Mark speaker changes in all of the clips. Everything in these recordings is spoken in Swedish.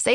Speaker 1: Say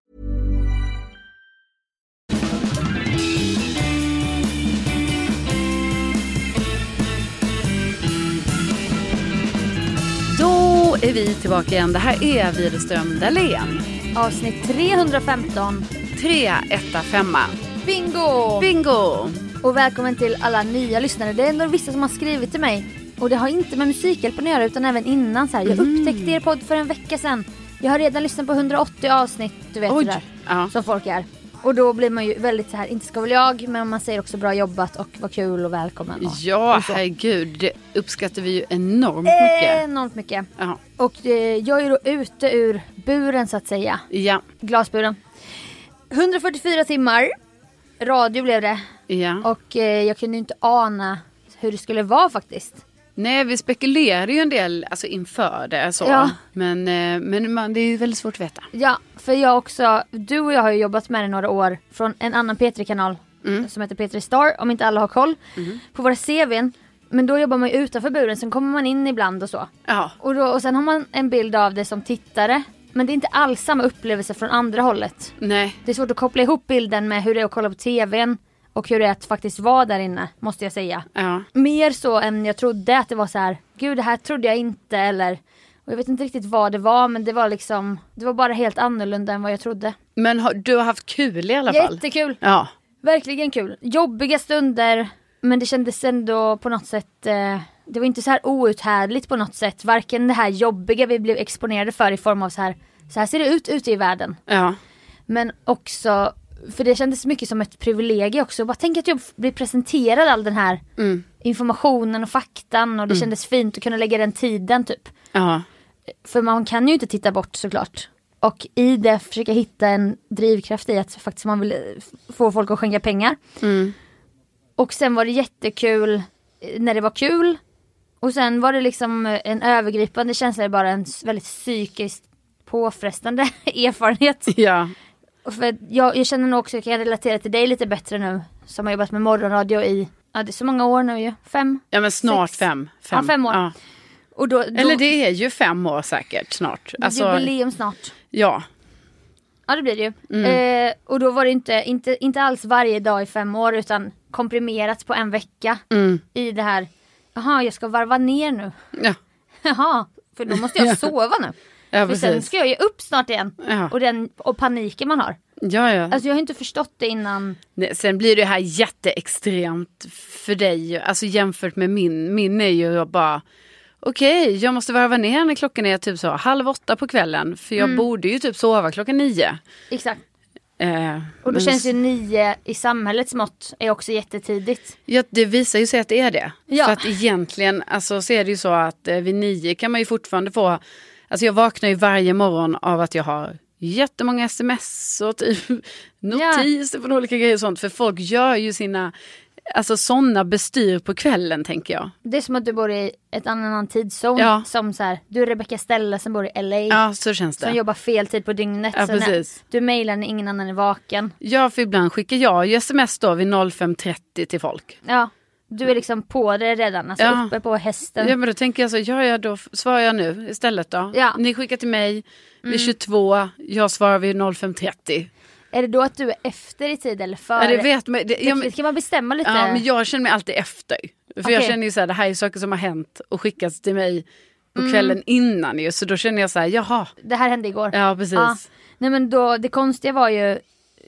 Speaker 2: Då är vi tillbaka igen. Det här är Widerström Dahlén.
Speaker 3: Avsnitt 315.
Speaker 2: 3, 1, 5.
Speaker 3: Bingo!
Speaker 2: Bingo!
Speaker 3: och välkommen till alla nya lyssnare. Det är ändå vissa som har skrivit till mig. Och det har inte med Musikhjälpen att göra utan även innan. Så här. Jag
Speaker 2: Mm.
Speaker 3: upptäckte er podd för en vecka sedan. Jag har redan lyssnat på 180 avsnitt, du vet
Speaker 2: Oj.
Speaker 3: det där.
Speaker 2: Ja.
Speaker 3: Som folk är. Och då blir man ju väldigt så här, inte ska väl jag, men man säger också bra jobbat och vad kul och välkommen. Och
Speaker 2: Ja, herregud. Det uppskattar vi ju enormt mycket.
Speaker 3: Enormt mycket.
Speaker 2: Ja.
Speaker 3: Och eh, jag är då ute ur buren så att säga.
Speaker 2: Ja.
Speaker 3: Glasburen. 144 timmar. Radio blev det.
Speaker 2: ja.
Speaker 3: Och eh, jag kunde ju inte ana hur det skulle vara faktiskt.
Speaker 2: Nej, vi spekulerar ju en del alltså, inför det. Så.
Speaker 3: Ja.
Speaker 2: Men, eh, men man, det är ju väldigt svårt att veta.
Speaker 3: Ja, för jag också, du och jag har ju jobbat med det några år från en annan P3-kanal som heter P3 Star, om inte alla har koll, på våra CVn. Men då jobbar man ju utanför buren, sen kommer man in ibland och så.
Speaker 2: Ja.
Speaker 3: Och, då, och sen har man en bild av det som tittare, men det är inte alls samma upplevelse från andra hållet.
Speaker 2: Nej.
Speaker 3: Det är svårt att koppla ihop bilden med hur det är att kolla på TVn och hur det är att faktiskt vara där inne, måste jag säga.
Speaker 2: Ja.
Speaker 3: mer så än jag trodde att det var så här, gud det här trodde jag inte eller och jag vet inte riktigt vad det var men det var liksom, det var bara helt annorlunda än vad jag trodde.
Speaker 2: Men har, du har haft kul i alla fall?
Speaker 3: Jättekul,
Speaker 2: Ja.
Speaker 3: verkligen kul. Jobbiga stunder men det kändes ändå på något sätt, eh, det var inte så här outhärdligt på något sätt. Varken det här jobbiga vi blev exponerade för i form av så här, så här ser det ut ute i världen.
Speaker 2: Ja.
Speaker 3: Men också, för det kändes mycket som ett privilegium också. Bara tänk att jag blir presenterad all den här
Speaker 2: Mm.
Speaker 3: informationen och faktan och det kändes fint att kunna lägga den tiden typ.
Speaker 2: Ja.
Speaker 3: För man kan ju inte titta bort såklart. Och i det försöka hitta en drivkraft i att faktiskt man vill eh, f- få folk att skänka pengar.
Speaker 2: Mm.
Speaker 3: Och sen var det jättekul eh, när det var kul. Och sen var det liksom eh, en övergripande känsla, bara en s- väldigt psykiskt påfrestande erfarenhet.
Speaker 2: Ja.
Speaker 3: Och För att jag, jag känner nog också, jag kan relatera till dig lite bättre nu. Som har jobbat med morgonradio i, ja det är så många år nu ju, fem.
Speaker 2: ja, men snart
Speaker 3: Sex.
Speaker 2: fem.
Speaker 3: Ja, fem år. Och då, då
Speaker 2: Eller det är ju fem år säkert snart. Alltså,
Speaker 3: jubileum snart.
Speaker 2: ja.
Speaker 3: Ja det blir det ju.
Speaker 2: Mm.
Speaker 3: Eh, och då var det inte, inte, inte alls varje dag i fem år utan komprimerat på en vecka.
Speaker 2: Mm.
Speaker 3: I det här, jaha jag ska varva ner nu.
Speaker 2: Ja.
Speaker 3: Jaha, för då måste jag sova nu.
Speaker 2: Ja,
Speaker 3: för sen
Speaker 2: precis.
Speaker 3: ska jag ju upp snart igen.
Speaker 2: Ja. Mm.
Speaker 3: Och, den, och paniken man har.
Speaker 2: Ja, ja.
Speaker 3: Alltså jag har inte förstått det innan.
Speaker 2: Nej, Sen blir det här jätteextremt för dig, alltså jämfört med min. Min är ju bara, okej, jag måste varva ner när klockan är typ så halv åtta på kvällen, för
Speaker 3: Mm.
Speaker 2: jag borde ju typ sova klockan nio.
Speaker 3: Exakt.
Speaker 2: Eh,
Speaker 3: Och då
Speaker 2: men
Speaker 3: känns ju nio i samhällets mått är också jättetidigt.
Speaker 2: Ja, det visar ju sig att det är det.
Speaker 3: Ja.
Speaker 2: För att egentligen alltså, så är det ju så att eh, vid nio kan man ju fortfarande få... Alltså jag vaknar ju varje morgon av att jag har jättemånga sms och typ notiser från olika grejer och sånt. För folk gör ju sina... Alltså sådana bestyr på kvällen tänker jag.
Speaker 3: Det är som att du bor i ett annan tidszon.
Speaker 2: Ja.
Speaker 3: Som så här, du är Rebecca Stella som bor i LA.
Speaker 2: Ja, så känns
Speaker 3: Som
Speaker 2: det.
Speaker 3: jobbar fel tid på dygnet.
Speaker 2: Ja,
Speaker 3: så när,
Speaker 2: precis.
Speaker 3: du mejlar när ingen annan är vaken.
Speaker 2: Ja, för ibland skickar jag ju sms då vid 05.30 till folk.
Speaker 3: Ja. Du är liksom på det redan, alltså
Speaker 2: Ja.
Speaker 3: uppe på hästen.
Speaker 2: Ja, men då tänker jag så, ja, ja, då f- svarar jag nu istället då.
Speaker 3: Ja. Mm.
Speaker 2: Ni skickar till mig vid 22, jag svarar vid 05.30.
Speaker 3: Är det då att du är efter i tid eller före?
Speaker 2: Ja, det vet man. Det, ja,
Speaker 3: det
Speaker 2: men,
Speaker 3: kan man bestämma lite.
Speaker 2: ja, men jag känner mig alltid efter. För jag
Speaker 3: Okej.
Speaker 2: känner ju så här, det här är saker som har hänt och skickats till mig på
Speaker 3: Mm.
Speaker 2: kvällen innan ju. Så då känner jag så här, jaha.
Speaker 3: Det här hände igår.
Speaker 2: Ja, precis.
Speaker 3: Ja. Nej men då, det konstiga var ju,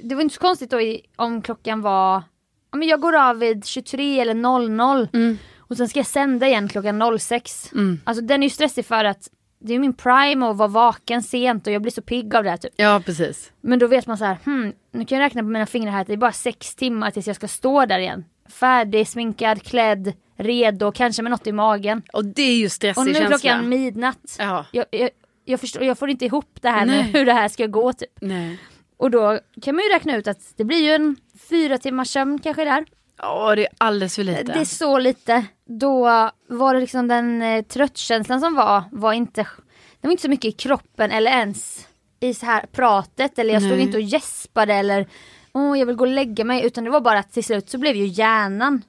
Speaker 3: det var inte så konstigt då i, om klockan var ja, men jag går av vid 23 eller 00
Speaker 2: Mm.
Speaker 3: och sen ska jag sända igen klockan 06.
Speaker 2: Mm.
Speaker 3: Alltså den är ju stressig för att det är min prime att vara vaken sent och jag blir så pigg av det här typ.
Speaker 2: Ja, precis.
Speaker 3: Men då vet man så här, hmm, nu kan jag räkna på mina fingrar här att det är bara sex timmar tills jag ska stå där igen. Färdig, sminkad, klädd, redo, kanske med något i magen.
Speaker 2: Och det är ju stressig
Speaker 3: Och nu är
Speaker 2: känsla.
Speaker 3: klockan midnatt.
Speaker 2: Ja.
Speaker 3: Jag, jag, jag, förstår, jag får inte ihop det här
Speaker 2: Nej.
Speaker 3: med hur det här ska gå typ.
Speaker 2: Nej.
Speaker 3: Och då kan man ju räkna ut att det blir ju en fyra timmars sömn kanske där.
Speaker 2: Ja, det är alldeles för lite.
Speaker 3: Det är så lite. Då var det liksom den eh, tröttkänslan som var, var inte, det var inte så mycket i kroppen eller ens i så här pratet eller jag stod
Speaker 2: Nej.
Speaker 3: inte och gäspade eller åh jag vill gå och lägga mig utan det var bara att till slut så blev ju hjärnan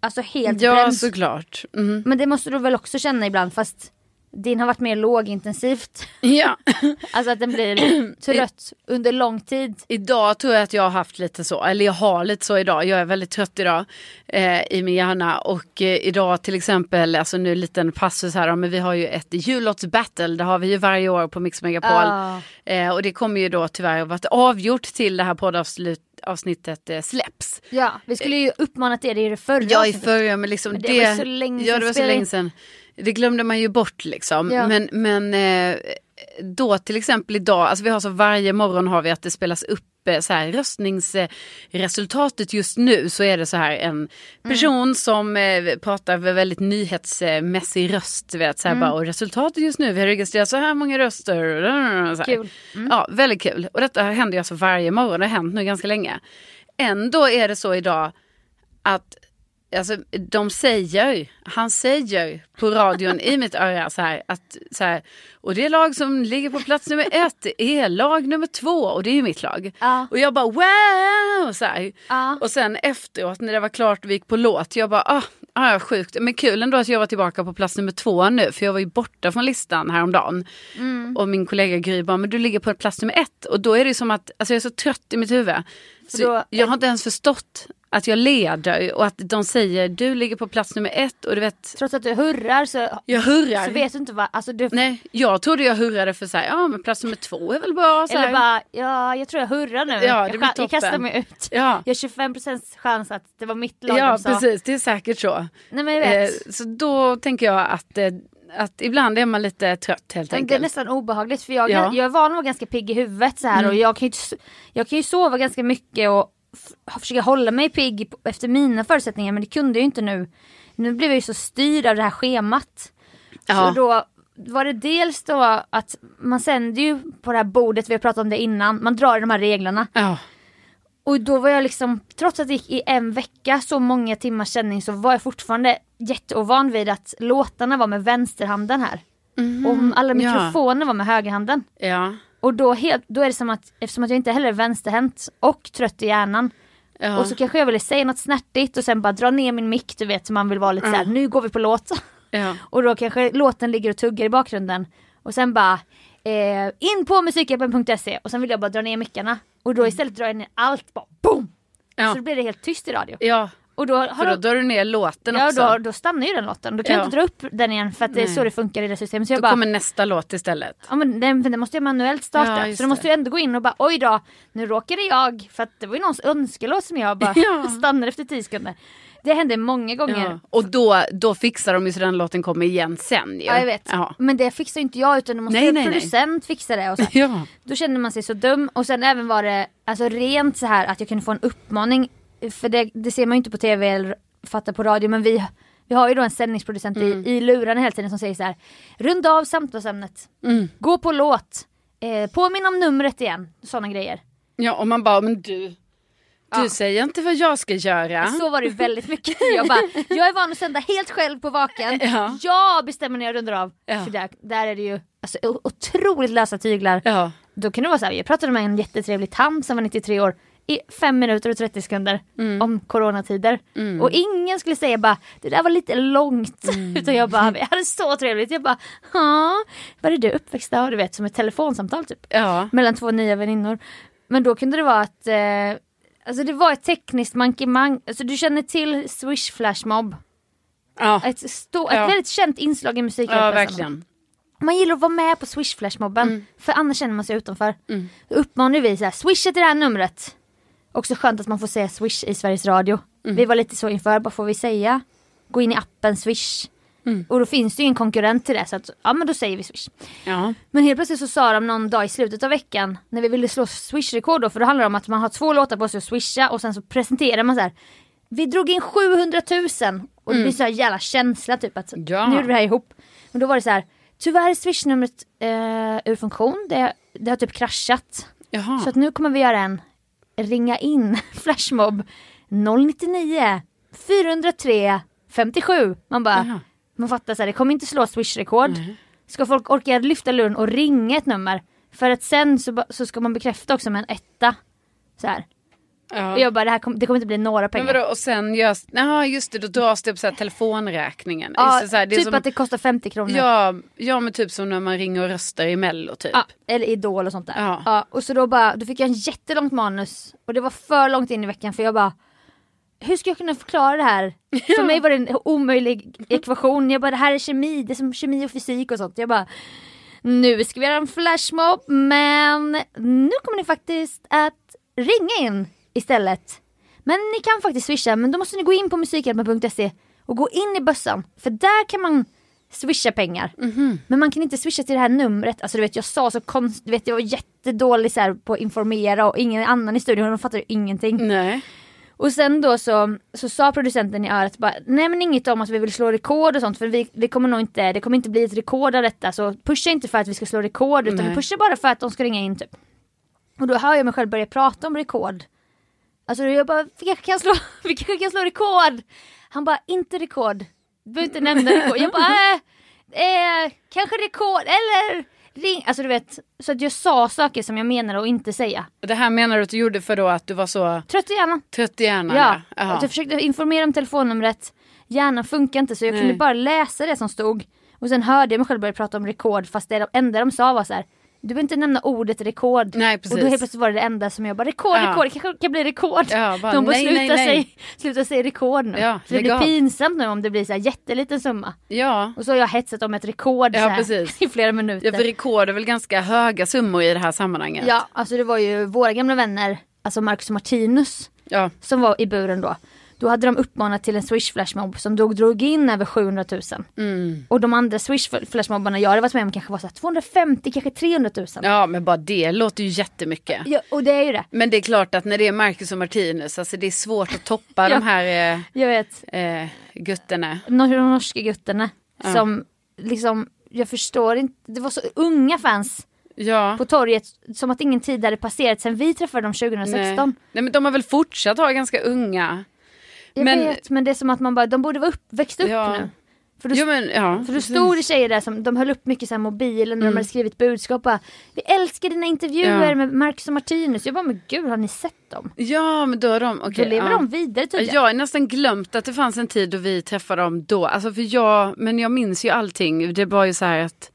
Speaker 3: alltså helt
Speaker 2: Ja,
Speaker 3: bränd.
Speaker 2: såklart. Mm.
Speaker 3: Men det måste du väl också känna ibland fast din har varit mer lågintensivt.
Speaker 2: Ja.
Speaker 3: Alltså att den blir trött under lång tid.
Speaker 2: Idag tror jag att jag har haft lite så, eller jag har lite så idag, jag är väldigt trött idag eh, i min hjärna och eh, idag till exempel, alltså nu en liten passus här, ja, men vi har ju ett jullottsbattle, det har vi ju varje år på Mix Megapol
Speaker 3: Ja.
Speaker 2: eh, och det kommer ju då tyvärr att vara avgjort till det här poddavsnittet avsnittet eh, släpps.
Speaker 3: Ja, vi skulle ju uppmanat er i det förra
Speaker 2: Ja i
Speaker 3: avsnittet.
Speaker 2: förra men liksom
Speaker 3: Men
Speaker 2: det,
Speaker 3: det var ju så länge
Speaker 2: ja,
Speaker 3: sedan
Speaker 2: det var så
Speaker 3: spelade in.
Speaker 2: länge sedan. Det glömde man ju bort liksom.
Speaker 3: Ja.
Speaker 2: Men, men eh, då till exempel idag, alltså vi har så varje morgon har vi att det spelas upp eh, så här, röstningsresultatet just nu så är det så här
Speaker 3: Mm.
Speaker 2: en person som eh, pratar med väldigt nyhetsmässig röst. du Vet, så här,
Speaker 3: Mm.
Speaker 2: bara, och resultatet just nu, vi har registrerat så här många röster. Så här.
Speaker 3: Kul. Mm.
Speaker 2: Ja, väldigt kul. Och detta händer ju alltså varje morgon, det har hänt nu ganska länge. Ändå är det så idag att alltså, de säger, han säger på radion i mitt öra så här, att, så här, och det lag som ligger på plats nummer ett är lag nummer två och det är ju mitt lag.
Speaker 3: Ja.
Speaker 2: Och jag bara wow! Så här.
Speaker 3: Ja.
Speaker 2: Och sen efteråt när det var klart och vi gick på låt, jag bara ah, ah, ja, sjukt. Men kul ändå att jag var tillbaka på plats nummer två nu, för jag var ju borta från listan häromdagen.
Speaker 3: Mm.
Speaker 2: Och min kollega Gry bara, men du ligger på plats nummer ett. Och då är det som att, alltså jag är så trött i mitt huvud. Så
Speaker 3: då-
Speaker 2: jag har inte ens förstått att jag leder och att de säger du ligger på plats nummer ett och du vet,
Speaker 3: Trots att du hurrar så,
Speaker 2: jag hurrar.
Speaker 3: så vet du inte vad, alltså du,
Speaker 2: Nej, jag trodde jag hurrade för så här, ja men plats nummer två är väl bra. Så här.
Speaker 3: eller bara ja jag tror jag hurrar nu, jag,
Speaker 2: det blir
Speaker 3: chan- jag
Speaker 2: toppen.
Speaker 3: kastar mig ut.
Speaker 2: Ja.
Speaker 3: Jag har 25% chans att det var mitt lag
Speaker 2: Ja
Speaker 3: de sa.
Speaker 2: precis, det är säkert så.
Speaker 3: Nej men jag vet.
Speaker 2: Eh, Så då tänker jag att, eh, att ibland är man lite trött helt
Speaker 3: Men det är
Speaker 2: enkelt.
Speaker 3: nästan obehagligt för jag,
Speaker 2: Ja. Mm.
Speaker 3: jag är van att vara ganska pigg i huvudet så här och jag kan, ju, inte s- jag kan ju sova ganska mycket och f- försöka hålla mig pigg p- efter mina förutsättningar men det kunde jag ju inte nu. Nu blev jag ju så styrd av det här schemat.
Speaker 2: Ja.
Speaker 3: Så då var det dels då att man sänder ju på det här bordet, vi har pratat om det innan, man drar i de här reglerna.
Speaker 2: Ja.
Speaker 3: Och då var jag liksom, trots att det gick i en vecka så många timmars sändning så var jag fortfarande jätteovan vid att låtarna var med vänsterhanden här. Och alla
Speaker 2: Mhm. ja.
Speaker 3: mikrofoner var med högerhanden.
Speaker 2: Ja.
Speaker 3: Och då, helt, då är det som att, eftersom att jag inte heller är vänsterhänt och trött i hjärnan.
Speaker 2: Ja.
Speaker 3: Och så kanske jag ville säga något snärtigt och sen bara dra ner min mick du vet så man vill vara lite såhär, nu går vi på låt.
Speaker 2: ja.
Speaker 3: Och då kanske låten ligger och tuggar i bakgrunden. Och sen bara eh, in på musikappen.se E. och sen vill jag bara dra ner mickarna. Och då istället drar jag ner allt, bara boom!
Speaker 2: Mm. Ja.
Speaker 3: Så då blir det helt tyst i radio.
Speaker 2: ja.
Speaker 3: Och då har
Speaker 2: För då
Speaker 3: de-
Speaker 2: drar du ner låten
Speaker 3: ja,
Speaker 2: också.
Speaker 3: då, då stannar ju den låten. Då kan
Speaker 2: Ja.
Speaker 3: jag inte dra upp den igen för att det är
Speaker 2: Nej.
Speaker 3: så det funkar i det systemet. Så jag
Speaker 2: Då
Speaker 3: bara,
Speaker 2: kommer nästa låt istället.
Speaker 3: ja men den, den måste jag manuellt starta.
Speaker 2: Ja, just
Speaker 3: så då måste
Speaker 2: det.
Speaker 3: jag ändå gå in och bara oj då, nu råkade jag, för att det var ju någons önskelåt som jag bara
Speaker 2: Ja.
Speaker 3: stannar efter tio sekunder. Det hände många gånger.
Speaker 2: Ja. Och då, då fixar de ju så den låten kommer igen sen ju.
Speaker 3: Ja jag vet.
Speaker 2: Ja.
Speaker 3: Men det fixar ju inte jag utan det måste
Speaker 2: Nej,
Speaker 3: ju en
Speaker 2: nej, nej.
Speaker 3: producent fixa det. Och så här.
Speaker 2: Ja.
Speaker 3: Då kände man sig så dum och sen även var det alltså rent så här att jag kunde få en uppmaning. För det, det ser man ju inte på tv eller fattar på radio men vi, vi har ju då en sändningsproducent
Speaker 2: Mm.
Speaker 3: i, i lurarna hela tiden som säger så här. Runda av samtalsämnet.
Speaker 2: Mm.
Speaker 3: Gå på låt. Eh, påminn om numret igen. Sådana grejer.
Speaker 2: ja, och man bara, men du, du säger inte vad jag ska göra.
Speaker 3: Så var det väldigt mycket. Jag bara, jag är van att sända helt själv på vaken.
Speaker 2: Ja.
Speaker 3: Jag bestämmer när jag rundar av.
Speaker 2: Ja.
Speaker 3: För där, där är det ju alltså, o- otroligt lösa tyglar.
Speaker 2: Ja.
Speaker 3: Då kan det vara så här, jag pratade med en jättetrevlig tant som var 93 år i 5 minuter och 30 sekunder
Speaker 2: Mm.
Speaker 3: om coronatider. Och ingen skulle säga bara, det där var lite långt.
Speaker 2: Mm.
Speaker 3: Utan jag bara, vi hade så trevligt. Jag bara, ja, vad är du uppväxt av? Du vet, som ett telefonsamtal typ.
Speaker 2: Ja.
Speaker 3: Mellan två nya väninnor. Men då kunde det vara att, eh, alltså det var ett tekniskt mankemang. Alltså du känner till Swish Flash Mob.
Speaker 2: Ja.
Speaker 3: Ett, stå,
Speaker 2: Ja.
Speaker 3: ett väldigt känt inslag i musiken.
Speaker 2: ja, verkligen.
Speaker 3: Man gillar att vara med på Swish-flashmobben för annars känner man sig utanför. Då uppmanar vi så här, swisha till det här numret. Också skönt att man får säga swish i Sveriges Radio. Vi var lite så inför, vad får vi säga? Gå in i appen Swish. Och då finns det ju ingen konkurrent till det så att, ja men då säger vi Swish.
Speaker 2: Ja.
Speaker 3: Men helt plötsligt så sa de någon dag i slutet av veckan när vi ville slå Swish-rekord då, för då handlar det om att man har två låtar på sig att swisha och sen så presenterar man så här. Vi drog in 700 000 och det blir så här jävla känsla typ att
Speaker 2: Ja.
Speaker 3: nu är det här ihop. Men då var det så här, tyvärr är swishnumret eh, ur funktion, det, det har typ kraschat.
Speaker 2: Jaha.
Speaker 3: Så att nu kommer vi göra en ringa in flashmob 099 403 57. Man bara,
Speaker 2: Jaha.
Speaker 3: man fattar så här, det kommer inte slå swish-rekord. Ska folk orka lyfta luren och ringa ett nummer? För att sen så, ba- så ska man bekräfta också med en etta. Så här. Och
Speaker 2: ja.
Speaker 3: jag bara, det, här kom, det kommer inte bli några
Speaker 2: Men
Speaker 3: pengar.
Speaker 2: vadå, och sen görs, ja just det, då dras det på så här telefonräkningen.
Speaker 3: ja,
Speaker 2: Just det, så här, det är
Speaker 3: typ
Speaker 2: som,
Speaker 3: att det kostar 50 kronor.
Speaker 2: ja, ja, men typ som när man ringer och röstar i Mello typ.
Speaker 3: Ja, eller Idol och sånt där.
Speaker 2: Ja.
Speaker 3: Ja. och så då, bara, då fick jag en jättelångt manus och det var för långt in i veckan för jag bara hur ska jag kunna förklara det här? För mig var det en omöjlig ekvation. Jag bara det här är kemi, det är som kemi och fysik och sånt. Jag bara nu ska vi göra en flashmob men nu kommer ni faktiskt att ringa in istället. Men ni kan faktiskt swisha men då måste ni gå in på musikhjälpen.se och gå in i bössan för där kan man swisha pengar. Men man kan inte swisha till det här numret. Alltså du vet jag sa så konstigt, du vet jag var jättedålig så här, på att informera och ingen annan i studion de fattade ju ingenting.
Speaker 2: Nej.
Speaker 3: Och sen då så, så sa producenten i örat bara, nej men inget om att vi vill slå rekord och sånt för vi, vi kommer nog inte, det kommer inte bli ett rekord av detta så pusha inte för att vi ska slå rekord utan
Speaker 2: Nej.
Speaker 3: pusha bara för att de ska ringa in typ. Och då hör jag mig själv börja prata om rekord. Alltså jag bara, vi kanske kan slå, vi kanske kan slå rekord! Han bara, inte rekord. Du behöver inte nämna rekord. Jag bara, äh, eh, kanske rekord eller ring. Alltså du vet, så att jag sa saker som jag menade att inte säga.
Speaker 2: Det här menar du att du gjorde för då att du var så
Speaker 3: Trött i hjärnan.
Speaker 2: trött i hjärnan?
Speaker 3: Ja,
Speaker 2: Jaha.
Speaker 3: att jag försökte informera om telefonnumret. Hjärnan funkar inte så jag
Speaker 2: Nej.
Speaker 3: kunde bara läsa det som stod. Och sen hörde jag mig själv börja prata om rekord fast det enda de sa var så här. Du behöver inte nämna ordet rekord.
Speaker 2: Nej,
Speaker 3: och då
Speaker 2: precis.
Speaker 3: helt plötsligt var det det enda som jag bara rekord,
Speaker 2: Ja.
Speaker 3: rekord, det kanske kan bli rekord.
Speaker 2: Ja, bara,
Speaker 3: de bara
Speaker 2: nej, nej,
Speaker 3: sluta,
Speaker 2: nej.
Speaker 3: Sig, sluta säga rekord nu.
Speaker 2: Ja,
Speaker 3: För det
Speaker 2: lägg
Speaker 3: blir
Speaker 2: av.
Speaker 3: pinsamt nu om det blir så här jätteliten summa.
Speaker 2: ja.
Speaker 3: Och så har jag hetsat om ett rekord
Speaker 2: Ja,
Speaker 3: så här,
Speaker 2: precis.
Speaker 3: i flera minuter.
Speaker 2: ja, för rekord är väl ganska höga summor i det här sammanhanget?
Speaker 3: ja, alltså det var ju våra gamla vänner, alltså Marcus och Martinus.
Speaker 2: ja.
Speaker 3: som var i buren då. Då hade de uppmanat till en swish flashmob som då drog in över 700 000.
Speaker 2: Mm.
Speaker 3: Och de andra swish flashmobbarna jag hade varit med om kanske var så här 250 kanske 300 000. Ja.
Speaker 2: Ja, men bara det låter ju jättemycket.
Speaker 3: och det är ju det.
Speaker 2: Men det är klart att när det är Marcus och Martinus, alltså det är svårt att toppa de här
Speaker 3: Jag vet,
Speaker 2: eh, eh, gutterna.
Speaker 3: nor- de norska gutterna som liksom, jag förstår inte, det var så unga fans
Speaker 2: Ja.
Speaker 3: på torget som att ingen tid hade passerat sen vi träffade dem 2016.
Speaker 2: Nej. Nej men de har väl fortsatt ha ganska unga.
Speaker 3: Jag
Speaker 2: Men-
Speaker 3: vet men det är som att man bara, de borde vara upp, växt upp
Speaker 2: Ja.
Speaker 3: nu. För då
Speaker 2: Jo men ja.
Speaker 3: För då stod det tjejer där som de höll upp mycket så här mobilen när de hade skrivit budskap bara, Vi älskar dina intervjuer
Speaker 2: Mm. Ja.
Speaker 3: med Marcus och Martinus. Jag bara men gud har ni sett dem?
Speaker 2: Ja men då har de, okej.
Speaker 3: Då lever
Speaker 2: ja.
Speaker 3: de vidare tydligen.
Speaker 2: Jag har nästan glömt att det fanns en tid då vi träffade dem då. Alltså för jag, men jag minns ju allting. Det var ju så här att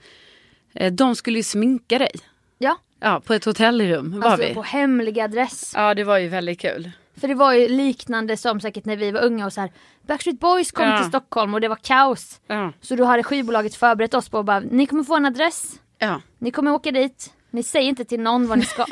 Speaker 2: eh, de skulle ju sminka dig.
Speaker 3: Ja,
Speaker 2: Ja, på ett hotellrum var
Speaker 3: alltså
Speaker 2: vi.
Speaker 3: på hemlig adress.
Speaker 2: Ja det var ju väldigt kul.
Speaker 3: För det var ju liknande som säkert när vi var unga och så här Backstreet Boys kom
Speaker 2: Ja.
Speaker 3: till Stockholm och det var kaos.
Speaker 2: Ja.
Speaker 3: Så då hade skivbolaget förberett oss på att bara, ni kommer få en adress,
Speaker 2: ja.
Speaker 3: ni kommer åka dit, ni säger inte till någon vad ni ska.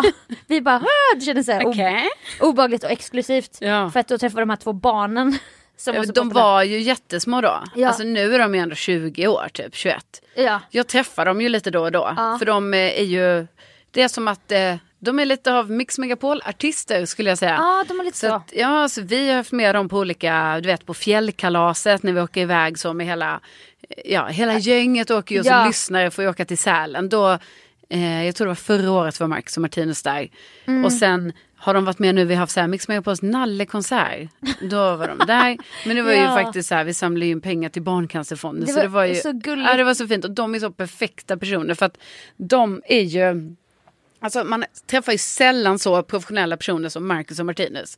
Speaker 3: vi bara, "Ah", det kändes så här okay.
Speaker 2: Okej.
Speaker 3: obehagligt och exklusivt.
Speaker 2: Ja.
Speaker 3: För att då träffade de här två barnen. Som var så
Speaker 2: Eh, De
Speaker 3: populära.
Speaker 2: var ju jättesmå då.
Speaker 3: Ja.
Speaker 2: Alltså nu är de ju ändå 20 år typ, 21.
Speaker 3: Ja.
Speaker 2: Jag träffar dem ju lite då och då.
Speaker 3: Ja.
Speaker 2: För de eh, är ju, det är som att eh, de är lite av Mix Megapol-artister skulle jag säga.
Speaker 3: Ja, de har lite
Speaker 2: Så
Speaker 3: så.
Speaker 2: att, ja, så vi har haft med dem på olika, du vet på fjällkalaset när vi åker iväg så med hela, ja hela gänget åker ju och
Speaker 3: Äh, Ja.
Speaker 2: som lyssnare får ju åka till Sälen. Då, eh, jag tror det var förra året var Marcus och Martinus där.
Speaker 3: Mm.
Speaker 2: Och sen har de varit med nu, vi har haft så här Mix Megapols Nalle-konsert. Då var de där. Men det var
Speaker 3: Ja.
Speaker 2: ju faktiskt så här, vi samlade ju in pengar till Barncancerfonden.
Speaker 3: Det
Speaker 2: så det
Speaker 3: var
Speaker 2: var ju,
Speaker 3: så gulligt.
Speaker 2: Ja, det var så fint. Och de är så perfekta personer för att de är ju Alltså man träffar ju sällan så professionella personer som Marcus och Martinus.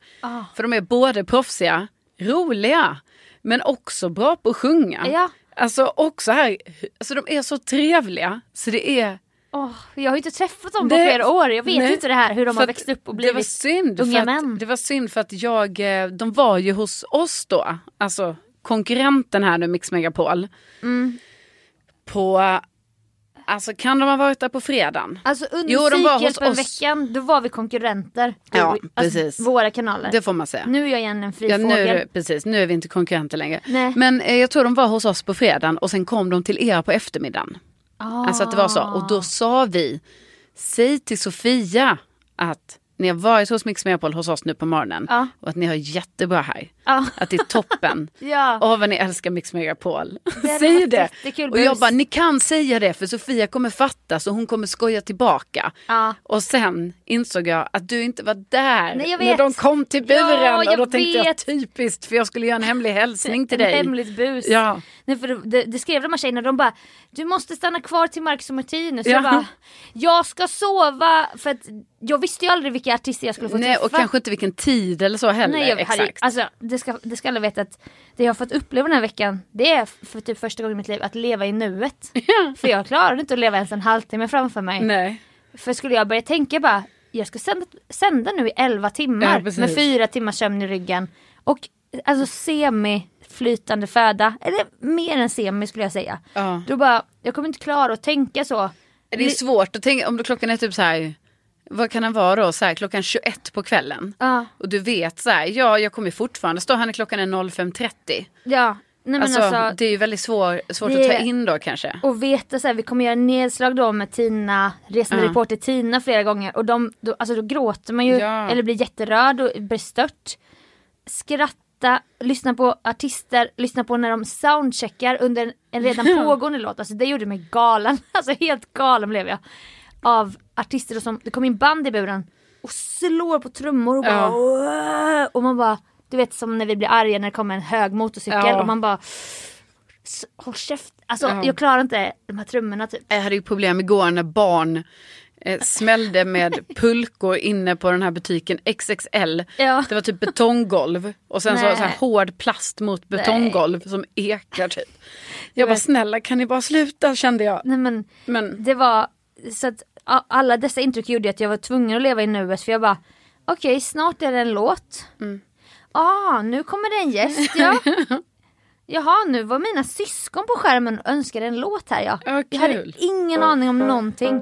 Speaker 2: För de är både proffsiga, roliga, men också bra på att sjunga.
Speaker 3: Ja.
Speaker 2: Alltså också här, alltså de är så trevliga. Så det är...
Speaker 3: Åh, jag har ju inte träffat dem på
Speaker 2: Det-
Speaker 3: flera år. Jag vet
Speaker 2: Nej.
Speaker 3: ju inte det här hur de
Speaker 2: För
Speaker 3: har
Speaker 2: att
Speaker 3: växt upp och
Speaker 2: det var
Speaker 3: blivit
Speaker 2: synd
Speaker 3: unga
Speaker 2: för
Speaker 3: män.
Speaker 2: Att, det var synd för att jag, eh, de var ju hos oss då,
Speaker 3: Mm.
Speaker 2: alltså konkurrenten här nu Mix Megapol. På Alltså kan de ha varit där på fredagen?
Speaker 3: Alltså under
Speaker 2: Jo, de var hos oss.
Speaker 3: Psykhjälpen-veckan, då var vi konkurrenter.
Speaker 2: Ja,
Speaker 3: alltså,
Speaker 2: precis.
Speaker 3: Våra kanaler.
Speaker 2: Det får man säga.
Speaker 3: Nu är jag igen en fri
Speaker 2: Ja, nu,
Speaker 3: fågel.
Speaker 2: är det- precis, nu är vi inte konkurrenter längre.
Speaker 3: Nej.
Speaker 2: Men eh, jag tror de var hos oss på fredagen och sen kom de till er på eftermiddagen.
Speaker 3: Ah.
Speaker 2: Alltså att det var så. Och då sa vi, säg till Sofia att ni har varit hos Mix Megapol hos oss nu på morgonen
Speaker 3: Ja.
Speaker 2: och att ni har jättebra här.
Speaker 3: Ja.
Speaker 2: Att det är toppen.
Speaker 3: Ja.
Speaker 2: Åh vad ni älskar Mix Megapol.
Speaker 3: hade
Speaker 2: Säg
Speaker 3: varit
Speaker 2: det.
Speaker 3: jättekul
Speaker 2: Och jag
Speaker 3: bus.
Speaker 2: bara, ni kan säga det för Sofia kommer fatta så hon kommer skoja tillbaka.
Speaker 3: Ja.
Speaker 2: Och sen insåg jag att du inte var där
Speaker 3: Nej, jag
Speaker 2: när
Speaker 3: vet.
Speaker 2: de kom till buren.
Speaker 3: Ja,
Speaker 2: och då
Speaker 3: jag
Speaker 2: tänkte jag
Speaker 3: vet.
Speaker 2: typiskt för jag skulle göra en hemlig hälsning till
Speaker 3: en
Speaker 2: dig.
Speaker 3: hemligt bus.
Speaker 2: Ja.
Speaker 3: Nej, för det, det skrev de här tjejerna, de bara du måste stanna kvar till Marcus och Martinus.
Speaker 2: Ja.
Speaker 3: Jag bara jag ska sova för att jag visste ju aldrig vilka artister jag skulle få
Speaker 2: Nej,
Speaker 3: träffa.
Speaker 2: och kanske inte vilken tid eller så heller.
Speaker 3: Nej, jag,
Speaker 2: exakt.
Speaker 3: Harry, alltså, det, ska, det ska alla veta att det jag har fått uppleva den här veckan det är för typ första gången i mitt liv att leva i nuet. för jag klarade inte att leva ens en halvtimme framför mig.
Speaker 2: Nej.
Speaker 3: För skulle jag börja tänka bara, jag ska sända, sända nu i 11
Speaker 2: Ja,
Speaker 3: timmar
Speaker 2: precis.
Speaker 3: med fyra timmars sömn i ryggen. Och alltså semi-flytande föda, eller mer än semi skulle jag säga.
Speaker 2: Ja.
Speaker 3: Då bara, jag kommer inte klara att tänka så.
Speaker 2: Det är svårt att tänka om då klockan är typ så här. Vad kan den vara då? Så här, klockan 21 på kvällen.
Speaker 3: Ja.
Speaker 2: Och du vet så här. Ja, jag kommer fortfarande stå här när klockan är 05.30.
Speaker 3: Ja, nej men
Speaker 2: Alltså,
Speaker 3: alltså.
Speaker 2: det är ju väldigt svår, svårt
Speaker 3: det-
Speaker 2: att ta in då kanske.
Speaker 3: Och veta så här, vi kommer göra nedslag då med Tina, resande
Speaker 2: Ja.
Speaker 3: reporter Tina flera gånger. Och de, då, alltså då gråter man ju,
Speaker 2: Ja.
Speaker 3: eller blir jätterörd och bestört. Skratta, lyssna på artister, lyssna på när de soundcheckar under en, en redan pågående låt. Alltså det gjorde mig galen, alltså helt galen blev jag. Av artister och som, det kom in band i buren och slår på trummor och bara
Speaker 2: Ja.
Speaker 3: "Åh!" Och man bara, du vet som när vi blir arga när det kommer en hög motorcykel
Speaker 2: Ja.
Speaker 3: och man bara S- håll käft. Alltså
Speaker 2: Ja.
Speaker 3: jag klarar inte de här trummorna typ.
Speaker 2: Jag hade ju problem igår när barn eh, smällde med pulkor inne på den här butiken XXL.
Speaker 3: Ja.
Speaker 2: Det var typ betonggolv och sen så,
Speaker 3: Nej.
Speaker 2: så här hård plast mot betonggolv som ekar typ. Jag bara
Speaker 3: vet.
Speaker 2: snälla kan ni bara sluta kände jag.
Speaker 3: Nej men
Speaker 2: Men
Speaker 3: det var så att a- alla dessa intryck gjorde att jag var tvungen att leva i nuet för jag bara okej snart är det en låt.
Speaker 2: Mm.
Speaker 3: Ah nu kommer det en gäst ja. Jaha nu var mina syskon på skärmen och önskade en låt här ja.
Speaker 2: Ja,
Speaker 3: Jag hade
Speaker 2: kul.
Speaker 3: ingen aning om någonting.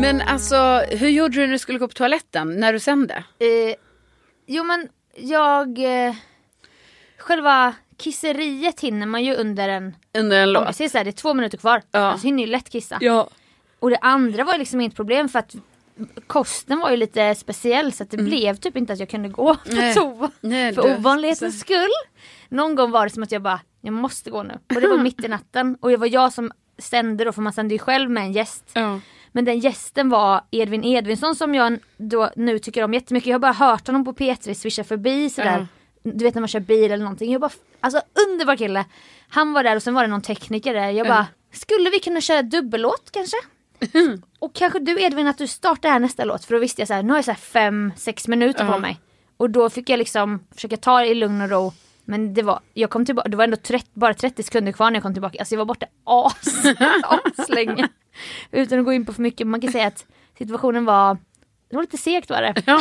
Speaker 2: Men alltså, hur gjorde du när du skulle gå på toaletten när du sände?
Speaker 3: Eh, jo men jag eh, själva kisseriet hinner man ju under en
Speaker 2: Under en
Speaker 3: Om vi säger så här, det är två minuter kvar.
Speaker 2: Ja.
Speaker 3: Alltså hinner ju lätt kissa.
Speaker 2: Ja.
Speaker 3: Och det andra var ju liksom inget problem för att kosten var ju lite speciell så att det blev typ inte att jag kunde gå på
Speaker 2: Mm. Nej.
Speaker 3: toa.
Speaker 2: Nej,
Speaker 3: för
Speaker 2: du-
Speaker 3: ovanlighetens skull. Någon gång var det som att jag bara, jag måste gå nu. Och det var mitt i natten. Och det var jag som sände då, för man sände ju själv med en gäst.
Speaker 2: Ja.
Speaker 3: Men den gästen var Edvin Edvinsson som jag då nu tycker om jättemycket. Jag har bara hört honom på P3 swisha förbi sådär. Du vet när man kör bil eller någonting. Jag bara, alltså underbar kille. Han var där och sen var det någon tekniker där. Jag bara, skulle vi kunna köra dubbellåt kanske? och kanske du Edvin att du startar här nästa låt. För då visste jag så här, nu har jag så här fem, sex minuter på mig. Och då fick jag liksom försöka ta det i lugn och ro. Men det var, jag kom tillbaka, det var ändå 30, bara 30 sekunder kvar när jag kom tillbaka. Alltså jag var borta as, aslänge. Utan att gå in på för mycket, man kan säga att situationen var, det var lite segt var det.
Speaker 2: Ja,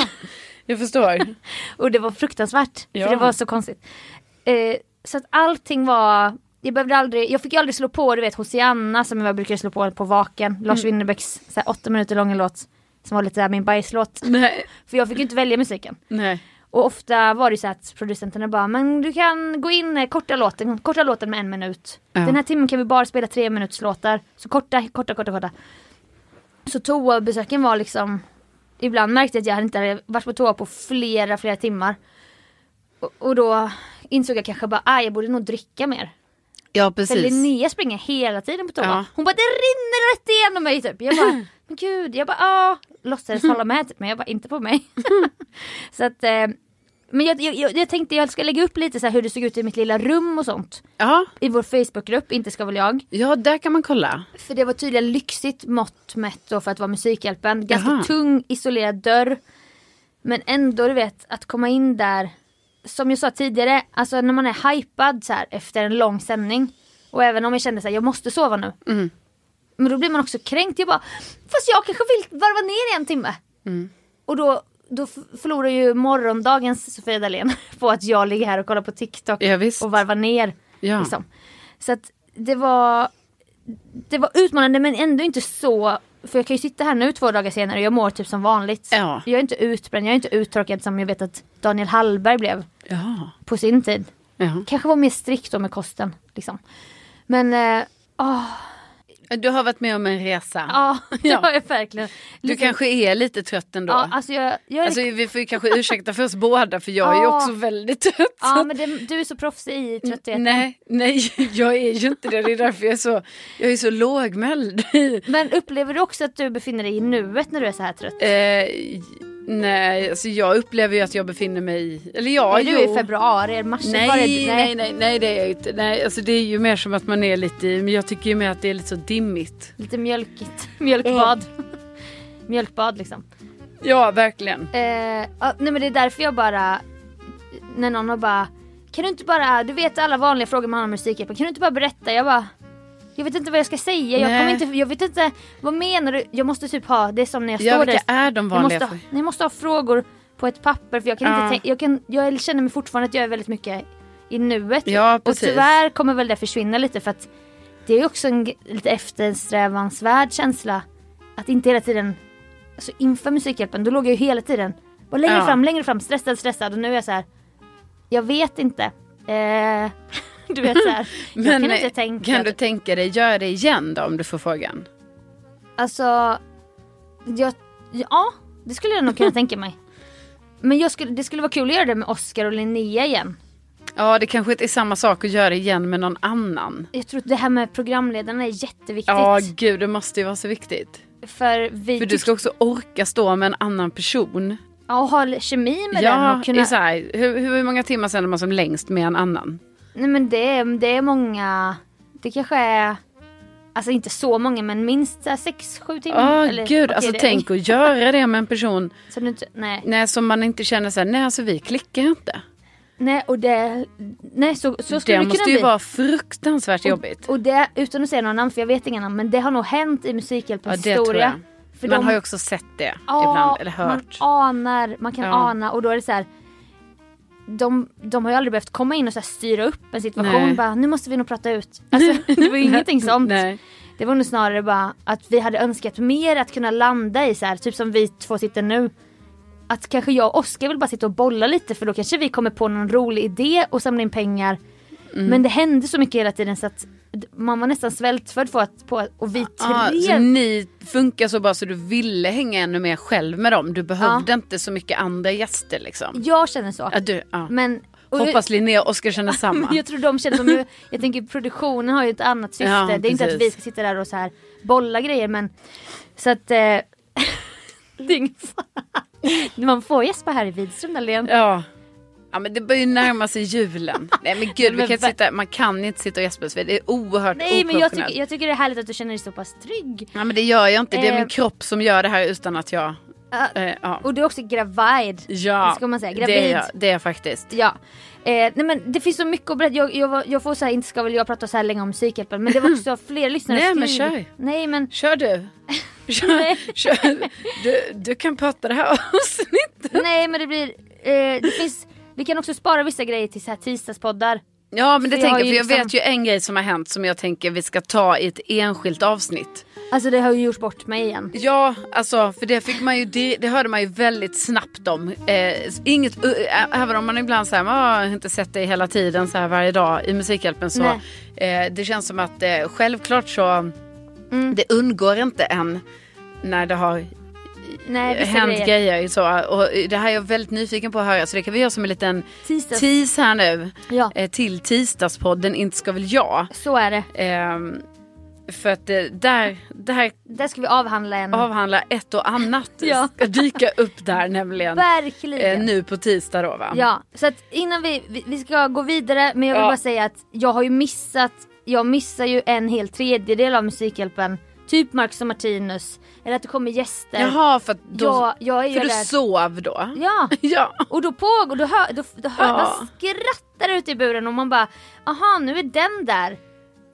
Speaker 2: jag förstår.
Speaker 3: Och det var fruktansvärt,
Speaker 2: Ja.
Speaker 3: för det var så konstigt. Eh, så att allting var, jag behövde aldrig, jag fick ju aldrig slå på, du vet Hosianna som jag brukade slå på på Vaken, Lars Winnerbäcks så här, åtta minuter långa låt. Som var lite såhär min bajslåt.
Speaker 2: Nej.
Speaker 3: För jag fick ju inte välja musiken.
Speaker 2: Nej.
Speaker 3: Och ofta var det så att producenterna bara, men du kan gå in eh, korta låten, korta låten med en minut.
Speaker 2: Ja.
Speaker 3: Den här timmen kan vi bara spela tre minuters låtar. Så korta, korta, korta, korta. Så toabesöken var liksom, ibland märkte jag att jag hade inte hade varit på toa på flera, flera timmar. Och, och då insåg jag kanske bara, ah, jag borde nog dricka mer.
Speaker 2: Ja,
Speaker 3: För
Speaker 2: precis.
Speaker 3: Linnea springer hela tiden på toa.
Speaker 2: Ja.
Speaker 3: Hon bara, det rinner rätt igenom mig typ. Jag bara, men gud, jag bara, ja. Låtsades hålla med typ, men jag bara, inte på mig. så att, eh, men jag, jag- jag, jag tänkte jag ska lägga upp lite så här hur det såg ut i mitt lilla rum och sånt.
Speaker 2: Ja,
Speaker 3: I vår Facebookgrupp, inte ska väl jag.
Speaker 2: ja, där kan man kolla.
Speaker 3: För det var tydligen lyxigt mått mätt då för att vara Musikhjälpen. Ganska
Speaker 2: Jaha.
Speaker 3: tung isolerad dörr. Men ändå du vet att komma in där. Som jag sa tidigare, alltså när man är hypad så här efter en lång sändning. Och även om jag kände så här, jag måste sova nu.
Speaker 2: Mm.
Speaker 3: Men då blir man också kränkt. Jag bara, fast jag kanske vill varva ner i en timme.
Speaker 2: Mm.
Speaker 3: Och då, då f- förlorar ju morgondagens Sofia Dalén på att jag ligger här och kollar på TikTok
Speaker 2: Ja, visst.
Speaker 3: och varvar ner.
Speaker 2: Ja.
Speaker 3: Liksom. Så att det var det var utmanande men ändå inte så. För jag kan ju sitta här nu två dagar senare och jag mår typ som vanligt.
Speaker 2: Ja.
Speaker 3: Jag är inte utbränd, jag är inte uttråkad som jag vet att Daniel Hallberg blev
Speaker 2: Ja.
Speaker 3: på sin tid.
Speaker 2: ja.
Speaker 3: Kanske var mer strikt då med kosten. Liksom. Men eh,
Speaker 2: Du har varit med om en resa.
Speaker 3: ja, det
Speaker 2: Ja.
Speaker 3: har jag verkligen.
Speaker 2: Du
Speaker 3: Lite-
Speaker 2: kanske är lite trött ändå.
Speaker 3: Ja,
Speaker 2: alltså,
Speaker 3: alltså jag, jag är
Speaker 2: vi får ju kanske ursäkta för oss båda för jag är ju
Speaker 3: Ja.
Speaker 2: också väldigt trött.
Speaker 3: ja, men det, du är så proffsig i trötthet.
Speaker 2: Nej, nej, jag är ju inte det. Det är därför jag är så, jag är så lågmäld.
Speaker 3: Men upplever du också att du befinner dig i nuet när du är så här trött?
Speaker 2: Eh, nej, alltså jag upplever ju att jag befinner mig i... Eller ja,
Speaker 3: är
Speaker 2: jo.
Speaker 3: du i februari, eller mars?
Speaker 2: Nej,
Speaker 3: Var är
Speaker 2: nej,
Speaker 3: du-
Speaker 2: nej, nej, det är jag inte. Nej, alltså det är ju mer som att man är lite i... Men jag tycker ju mer att det är lite så dimmigt.
Speaker 3: Lite mjölkigt, mjölkbad. Mjölkbad liksom.
Speaker 2: Ja, verkligen.
Speaker 3: Eh, ja, nej men det är därför jag bara, när någon har bara, kan du inte bara, du vet alla vanliga frågor man har om musikhjälpen, kan du inte bara berätta? Jag bara, jag vet inte vad jag ska säga, jag,
Speaker 2: Nej.
Speaker 3: kommer inte, jag vet inte, vad menar du? Jag måste typ ha, det är som när jag
Speaker 2: Ja,
Speaker 3: står
Speaker 2: vilka
Speaker 3: där.
Speaker 2: är de
Speaker 3: Jag
Speaker 2: vanliga?
Speaker 3: måste, ha,
Speaker 2: frågorna?
Speaker 3: jag måste ha frågor på ett papper för jag kan
Speaker 2: Ja.
Speaker 3: inte tänka, jag, kan, jag känner mig fortfarande att jag är väldigt mycket i nuet.
Speaker 2: Ja,
Speaker 3: och
Speaker 2: precis.
Speaker 3: tyvärr kommer väl det försvinna lite för att det är ju också en g- lite eftersträvansvärd känsla att inte hela tiden, alltså inför Musikhjälpen då låg jag ju hela tiden bara längre
Speaker 2: Ja.
Speaker 3: fram, längre fram, stressad, stressad och nu är jag så här. jag vet inte. Eh, du vet så här. jag kan
Speaker 2: Men,
Speaker 3: inte
Speaker 2: eh,
Speaker 3: tänka.
Speaker 2: Kan du tänka dig göra det igen då om du får frågan?
Speaker 3: Alltså, jag, ja, det skulle jag nog kunna tänka mig. Men jag skulle, det skulle vara kul att göra det med Oscar och Linnea igen.
Speaker 2: Ja, det kanske inte är samma sak att göra det igen med någon annan.
Speaker 3: Jag tror att det här med programledarna är jätteviktigt.
Speaker 2: Ja, gud, det måste ju vara så viktigt.
Speaker 3: För vi
Speaker 2: För du ska också orka stå med en annan person.
Speaker 3: ja, och ha kemi med den.
Speaker 2: ja,
Speaker 3: Och kunna,
Speaker 2: i så här, hur, hur många timmar sänder man som längst med en annan?
Speaker 3: nej men det, är- det är många, det kanske är, alltså inte så många men minst 6-7 timmar.
Speaker 2: Ja,
Speaker 3: Mm, Eller-
Speaker 2: gud,
Speaker 3: okej,
Speaker 2: alltså
Speaker 3: det-
Speaker 2: tänk att göra det med en person
Speaker 3: Så nu, inte- nej.
Speaker 2: nej, som man inte känner så här, nej alltså vi klickar inte.
Speaker 3: nej, och det, nej så, så skulle
Speaker 2: det
Speaker 3: det kunna
Speaker 2: måste
Speaker 3: bli.
Speaker 2: ju vara fruktansvärt jobbigt.
Speaker 3: Och det, utan att säga några namn för jag vet inga namn, men det har nog hänt i
Speaker 2: ja,
Speaker 3: Musikhjälpens
Speaker 2: det tror
Speaker 3: historia.
Speaker 2: jag.
Speaker 3: För
Speaker 2: man
Speaker 3: de-
Speaker 2: har ju också sett det
Speaker 3: Ja,
Speaker 2: ibland, eller hört.
Speaker 3: Man anar, man kan
Speaker 2: Ja.
Speaker 3: ana och då är det så här. De, de har ju aldrig behövt komma in och så här styra upp en situation
Speaker 2: Nej.
Speaker 3: bara nu måste vi nog prata ut. Alltså, det var ju ingenting sånt.
Speaker 2: Nej.
Speaker 3: Det var nog snarare bara att vi hade önskat mer att kunna landa i så här, typ som vi två sitter nu. Att kanske jag och Oskar vill bara sitta och bolla lite för då kanske vi kommer på någon rolig idé och samla in pengar.
Speaker 2: Mm.
Speaker 3: Men det hände så mycket hela tiden så att d- man var nästan svältfödd på att, på, och vi tre
Speaker 2: Ja, så ni funkar så bra så du ville hänga ännu mer själv med dem. Du behövde inte så mycket andra gäster liksom.
Speaker 3: Jag känner så.
Speaker 2: Ja, du, ja.
Speaker 3: Men och-
Speaker 2: Hoppas Linnea och Oskar känner samma.
Speaker 3: Jag tror de känner som, jag, jag tänker produktionen har ju ett annat syfte.
Speaker 2: Ja,
Speaker 3: det är inte att
Speaker 2: precis.
Speaker 3: vi ska sitta där och så här bolla grejer men så att eh, det är ingen fara. Man får gäspa här i Widström Dahlén.
Speaker 2: Ja. ja, men det börjar ju närma sig julen. Nej men gud, vi kan inte sitta, man kan inte sitta och gäspa. så Det är oerhört
Speaker 3: Nej men jag
Speaker 2: oprofessionellt.
Speaker 3: tycker, jag tycker det är härligt att du känner dig så pass trygg.
Speaker 2: Ja men det gör jag inte. Det är
Speaker 3: Eh.
Speaker 2: min kropp som gör det här utan att jag Eh, ja.
Speaker 3: Och du är också gravid.
Speaker 2: Ja,
Speaker 3: Ska man säga,
Speaker 2: Det,
Speaker 3: gravid.
Speaker 2: är jag, det är jag faktiskt.
Speaker 3: Ja. Eh, nej men det finns så mycket att berätta. Jag, jag, var- jag får så här, inte ska väl jag prata så här länge om Psykhjälpen men det var också fler lyssnare
Speaker 2: Nej,
Speaker 3: som
Speaker 2: men
Speaker 3: skrev-
Speaker 2: kör.
Speaker 3: Nej men
Speaker 2: Kör du. Kör, kör. Du, du kan prata det här avsnittet.
Speaker 3: nej men det blir, eh, det finns, vi kan också spara vissa grejer till så här tisdagspoddar.
Speaker 2: Ja men det
Speaker 3: För jag
Speaker 2: tänker
Speaker 3: har
Speaker 2: jag,
Speaker 3: ju
Speaker 2: för jag
Speaker 3: liksom-
Speaker 2: vet ju en grej som har hänt som jag tänker vi ska ta i ett enskilt avsnitt.
Speaker 3: Alltså det har ju gjort bort mig igen.
Speaker 2: Ja, alltså för det fick man ju, det, det hörde man ju väldigt snabbt om. Eh, inget, ö- ä- även om man ibland säger, "Ah, har inte sett dig hela tiden så här varje dag i Musikhjälpen så eh, det känns som att eh, självklart så det undgår inte en när det har
Speaker 3: Nej vissa
Speaker 2: hänt
Speaker 3: grejer.
Speaker 2: grejer. Så, och det här är jag väldigt nyfiken på att höra så det kan vi göra som en liten
Speaker 3: Tisdags.
Speaker 2: tease här nu.
Speaker 3: Ja.
Speaker 2: Eh, till tisdagspodden Inte ska väl jag.
Speaker 3: Så är det.
Speaker 2: Ehm, för att eh, där, där
Speaker 3: Där ska vi avhandla en.
Speaker 2: avhandla ett och annat
Speaker 3: Mm. Ja.
Speaker 2: ska dyka upp där nämligen.
Speaker 3: Verkligen.
Speaker 2: Eh, nu på tisdag då va?
Speaker 3: Ja, så att innan vi, vi, vi ska gå vidare men jag vill
Speaker 2: Ja.
Speaker 3: bara säga att jag har ju missat, jag missar ju en hel tredjedel av Musikhjälpen. Typ Marcus och Martinus, eller att det kommer gäster.
Speaker 2: Jaha för att då,
Speaker 3: Ja, jag är ju
Speaker 2: för du
Speaker 3: där.
Speaker 2: sov då?
Speaker 3: Ja,
Speaker 2: Ja.
Speaker 3: och då pågår, då hör, då, då hör
Speaker 2: Ja.
Speaker 3: man skrattar ute i buren och man bara aha nu är den där.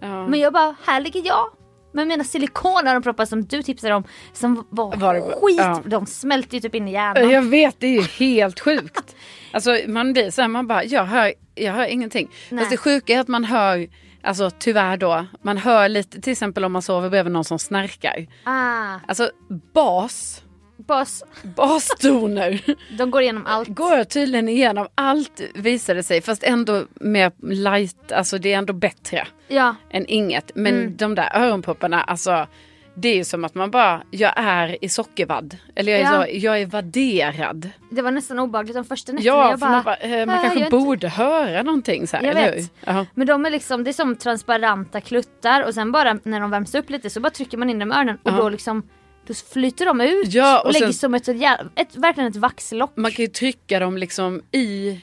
Speaker 2: Ja.
Speaker 3: Men jag bara, här ligger jag. Med mina silikonöronproppar som du tipsade om som var,
Speaker 2: Var det-
Speaker 3: skit,
Speaker 2: ja.
Speaker 3: de smälte ju typ in i hjärnan.
Speaker 2: Jag vet, det är ju helt sjukt. Alltså man blir så här, man bara, jag hör, jag hör ingenting.
Speaker 3: Nej.
Speaker 2: Fast det sjuka är att man hör, alltså tyvärr då, man hör lite, till exempel om man sover bredvid någon som snarkar.
Speaker 3: Ah,
Speaker 2: Alltså bas,
Speaker 3: boss,
Speaker 2: bastoner
Speaker 3: de går igenom allt.
Speaker 2: går tydligen igenom allt visade sig. Fast ändå mer light, alltså det är ändå bättre
Speaker 3: Ja,
Speaker 2: än inget. Men
Speaker 3: Mm.
Speaker 2: de där öronpropparna, alltså det är ju som att man bara, jag är i sockervadd. Eller jag är,
Speaker 3: Ja.
Speaker 2: så, jag är vadderad.
Speaker 3: det var nästan obehagligt de första nätterna.
Speaker 2: Ja,
Speaker 3: jag
Speaker 2: för
Speaker 3: bara,
Speaker 2: man, bara, eh, man
Speaker 3: "Äh,
Speaker 2: kanske
Speaker 3: jag är inte-
Speaker 2: borde höra någonting så här,
Speaker 3: Jag
Speaker 2: eller
Speaker 3: vet.
Speaker 2: hur? Ja.
Speaker 3: Men de är liksom, det är som transparenta kluttar och sen bara när de värms upp lite så bara trycker man in dem i öronen och då liksom då flyter de ut
Speaker 2: Ja,
Speaker 3: och,
Speaker 2: och
Speaker 3: lägger
Speaker 2: sen-
Speaker 3: som ett, jä- ett, verkligen ett vaxlock.
Speaker 2: Man kan ju trycka dem liksom i,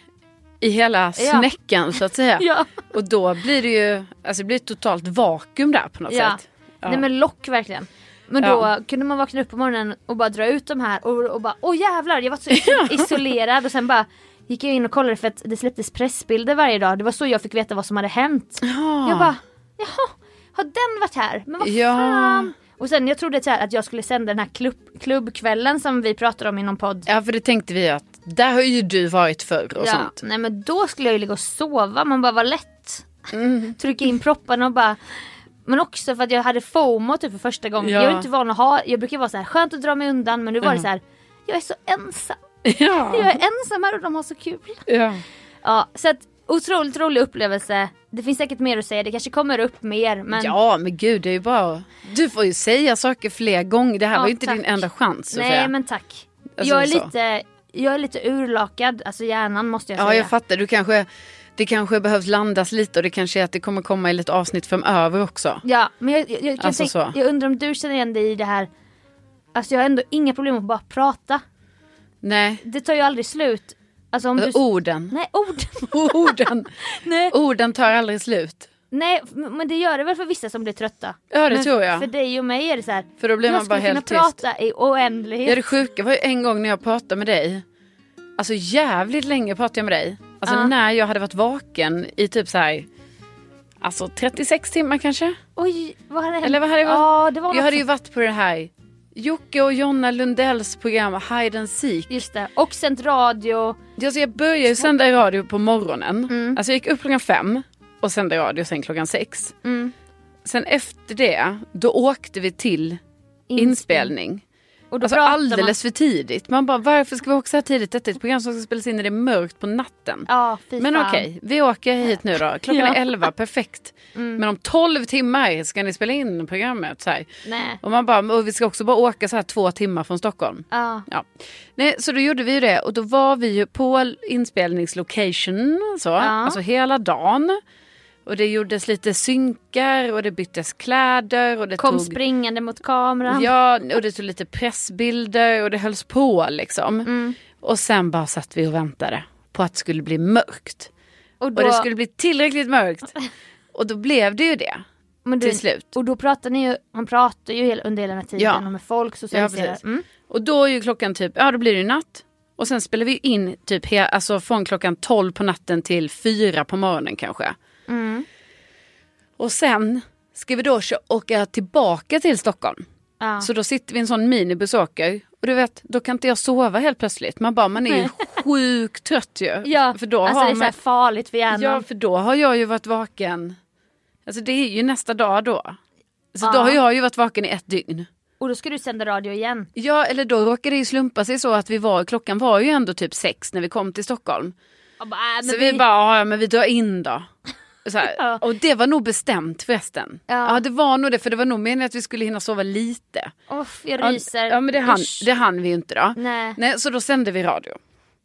Speaker 2: i hela
Speaker 3: Ja.
Speaker 2: snäckan så att säga.
Speaker 3: Ja.
Speaker 2: Och då blir det ju, alltså det blir ett totalt vakuum där på något
Speaker 3: Ja.
Speaker 2: sätt.
Speaker 3: Nej men lock verkligen. Men då
Speaker 2: Ja.
Speaker 3: kunde man vakna upp på morgonen och bara dra ut de här och, och bara åh jävlar jag var så isolerad och sen bara gick jag in och kollade för att det släpptes pressbilder varje dag. Det var så jag fick veta vad som hade hänt.
Speaker 2: Ja.
Speaker 3: Jag bara jaha, har den varit här? Men vad
Speaker 2: Ja.
Speaker 3: fan? Och sen jag trodde så här att jag skulle sända den här klubb, klubbkvällen som vi pratade om i någon podd.
Speaker 2: Ja, för det tänkte vi att där har ju du varit förr och sånt.
Speaker 3: Nej men då skulle jag ju ligga och sova, man bara var lätt.
Speaker 2: Mm.
Speaker 3: Trycka in propparna och bara men också för att jag hade FOMO typ för första gången.
Speaker 2: Ja.
Speaker 3: Jag är inte van att ha, jag brukar vara så här skönt att dra mig undan men nu var det så här jag är så ensam. Jag
Speaker 2: Ja.
Speaker 3: är ensam här och de har så kul.
Speaker 2: ja.
Speaker 3: Ja, så att otroligt rolig upplevelse. Det finns säkert mer att säga, det kanske kommer upp mer men
Speaker 2: Ja, men gud det är ju bara... Du får ju säga saker fler gånger. Det här
Speaker 3: Ja,
Speaker 2: var ju inte
Speaker 3: tack.
Speaker 2: din enda chans Sofia.
Speaker 3: nej men tack.
Speaker 2: Alltså,
Speaker 3: jag är
Speaker 2: så.
Speaker 3: lite jag är lite urlakad, alltså hjärnan måste jag
Speaker 2: Ja,
Speaker 3: säga.
Speaker 2: jag fattar. Du kanske... Det kanske behövs landas lite och det kanske är att det kommer komma i lite avsnitt framöver också.
Speaker 3: Ja, men jag, jag, jag, kan
Speaker 2: Alltså
Speaker 3: tänka,
Speaker 2: så.
Speaker 3: jag undrar om du känner igen dig i det här. Alltså jag har ändå inga problem att bara prata.
Speaker 2: Nej,
Speaker 3: Det tar ju aldrig slut. Alltså om du...
Speaker 2: Ö, orden.
Speaker 3: Nej, ord.
Speaker 2: Orden.
Speaker 3: nej.
Speaker 2: orden tar aldrig slut.
Speaker 3: nej, m- men det gör det väl för vissa som blir trötta.
Speaker 2: Ja, det
Speaker 3: men
Speaker 2: tror jag.
Speaker 3: För dig och mig är det så här.
Speaker 2: För då blir
Speaker 3: jag
Speaker 2: man bara
Speaker 3: skulle
Speaker 2: helt
Speaker 3: kunna
Speaker 2: tyst.
Speaker 3: prata i oändlighet.
Speaker 2: Ja, det sjuka var ju en gång när jag pratade med dig. Alltså jävligt länge pratade jag med dig. Alltså
Speaker 3: Ja.
Speaker 2: när jag hade varit vaken i typ så här... Alltså 36 timmar kanske?
Speaker 3: Oj, vad hade hänt?
Speaker 2: Eller vad hade det varit?
Speaker 3: Ja, det var
Speaker 2: jag
Speaker 3: något
Speaker 2: hade ju
Speaker 3: som-
Speaker 2: varit på det här Jocke och Jonna Lundells program Hide and Seek.
Speaker 3: Just det. Och sänt radio.
Speaker 2: Alltså jag började ju sända i radio på morgonen.
Speaker 3: Mm.
Speaker 2: Alltså jag gick upp klockan fem och sände i radio sen klockan sex.
Speaker 3: Mm.
Speaker 2: Sen efter det, då åkte vi till inspelning.
Speaker 3: Och då
Speaker 2: Alltså
Speaker 3: pratar
Speaker 2: alldeles för tidigt. Man bara varför ska vi åka så här tidigt? Detta är ett program som ska spelas in när det är mörkt på natten.
Speaker 3: Man... Ja, fy
Speaker 2: Men
Speaker 3: fan.
Speaker 2: okej, vi åker hit nu då. Klockan
Speaker 3: Ja. Mm.
Speaker 2: är elva, perfekt. Men om 12 timmar ska ni spela in programmet. Så här.
Speaker 3: Nej.
Speaker 2: Och man bara, och vi ska också bara åka så här två timmar från Stockholm.
Speaker 3: Ja.
Speaker 2: Ja. Nej, så då gjorde vi ju det och då var vi ju på inspelningslocation så, alltså hela dagen. Och det gjordes lite synkar och det byttes kläder och det
Speaker 3: Kom
Speaker 2: tog...
Speaker 3: springande mot kameran.
Speaker 2: Ja, och det tog lite pressbilder och det hölls på liksom. Och sen bara satt vi och väntade på att det skulle bli mörkt.
Speaker 3: och
Speaker 2: Och det skulle bli tillräckligt mörkt. Och då blev det ju det.
Speaker 3: Men du,
Speaker 2: till slut.
Speaker 3: Och då pratar ni ju, man pratar ju hela- under hela den här tiden
Speaker 2: Ja.
Speaker 3: och med folk,
Speaker 2: Ja,
Speaker 3: socialiserar.
Speaker 2: precis.
Speaker 3: mm.
Speaker 2: Och då är ju klockan typ, ja då blir det ju natt. Och sen spelar vi in typ he- alltså från klockan 12 på natten till 4 på morgonen kanske.
Speaker 3: Mm.
Speaker 2: Och sen ska vi då kö- åka tillbaka till Stockholm.
Speaker 3: Ja.
Speaker 2: Så då sitter vi i en sån minibuss och åker. Och du vet, då kan inte jag sova helt plötsligt. Man bara, man är ju sjukt trött ju.
Speaker 3: ja,
Speaker 2: för då
Speaker 3: alltså
Speaker 2: har
Speaker 3: det är så
Speaker 2: man,
Speaker 3: här farligt för hjärnan.
Speaker 2: ja, för då har jag ju varit vaken. Alltså det är ju nästa dag då. Så då
Speaker 3: Ja.
Speaker 2: har jag ju varit vaken i ett dygn.
Speaker 3: Och då ska du sända radio igen.
Speaker 2: Ja, eller då råkade det ju slumpa sig så att vi var, klockan var ju ändå typ sex när vi kom till Stockholm.
Speaker 3: Och bara, äh, men
Speaker 2: så vi, bara, "Ah, "Ja, ja men vi drar in då. Så här.
Speaker 3: Ja.
Speaker 2: Och det var nog bestämt förresten.
Speaker 3: Ja.
Speaker 2: Ja. det var nog det, för det var nog meningen att vi skulle hinna sova lite.
Speaker 3: Uff, jag
Speaker 2: Ja,
Speaker 3: ryser.
Speaker 2: Ja, men det hann,
Speaker 3: Usch.
Speaker 2: det hann vi ju inte då.
Speaker 3: Nej.
Speaker 2: Nej, så då sände vi radio.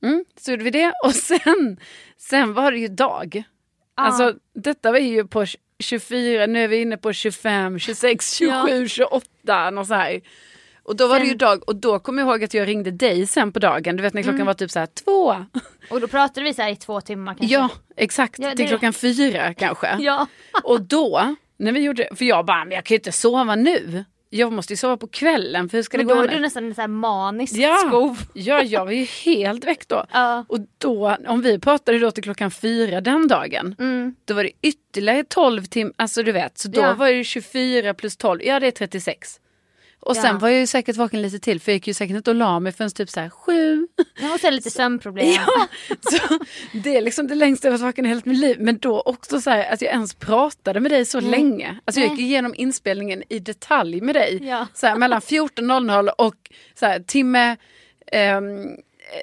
Speaker 2: Mm, så gjorde vi det och sen, sen var det ju dag. Alltså detta var ju på 24, nu är vi inne på 25, 26, 27, 28 något så här. Och då var det ju
Speaker 3: Sen-
Speaker 2: dag och då kommer jag ihåg att jag ringde dig sen på dagen, du vet när klockan
Speaker 3: Mm.
Speaker 2: var typ så här två.
Speaker 3: Och då pratade vi så här i två timmar kanske.
Speaker 2: Ja, exakt,
Speaker 3: Ja, det-
Speaker 2: till klockan fyra kanske.
Speaker 3: Ja.
Speaker 2: Och då, när vi gjorde, för jag bara, men jag kan ju inte sova nu. Jag måste ju sova på kvällen för hur ska det
Speaker 3: Men
Speaker 2: gå?
Speaker 3: då är
Speaker 2: nu?
Speaker 3: du nästan så här manisk
Speaker 2: Ja.
Speaker 3: skov.
Speaker 2: Ja, jag var ju helt väck då.
Speaker 3: Ja.
Speaker 2: Och då, om vi pratade då till klockan fyra den dagen, då var det ytterligare 12 timmar, alltså du vet, så då
Speaker 3: Mm. Ja.
Speaker 2: var det ju 24 plus 12, ja det är 36. Och
Speaker 3: Ja.
Speaker 2: sen var jag ju säkert vaken lite till, för jag gick ju säkert inte och la mig förrän typ så här sju.
Speaker 3: Jag måste ha lite sömnproblem.
Speaker 2: Ja, så det är liksom det längsta jag varit vaken i hela mitt liv. Men då också så här att jag ens pratade med dig så
Speaker 3: Mm.
Speaker 2: länge. Alltså jag gick igenom inspelningen i detalj med dig.
Speaker 3: Ja.
Speaker 2: Så här, mellan 14.00 och så här, timme, ehm,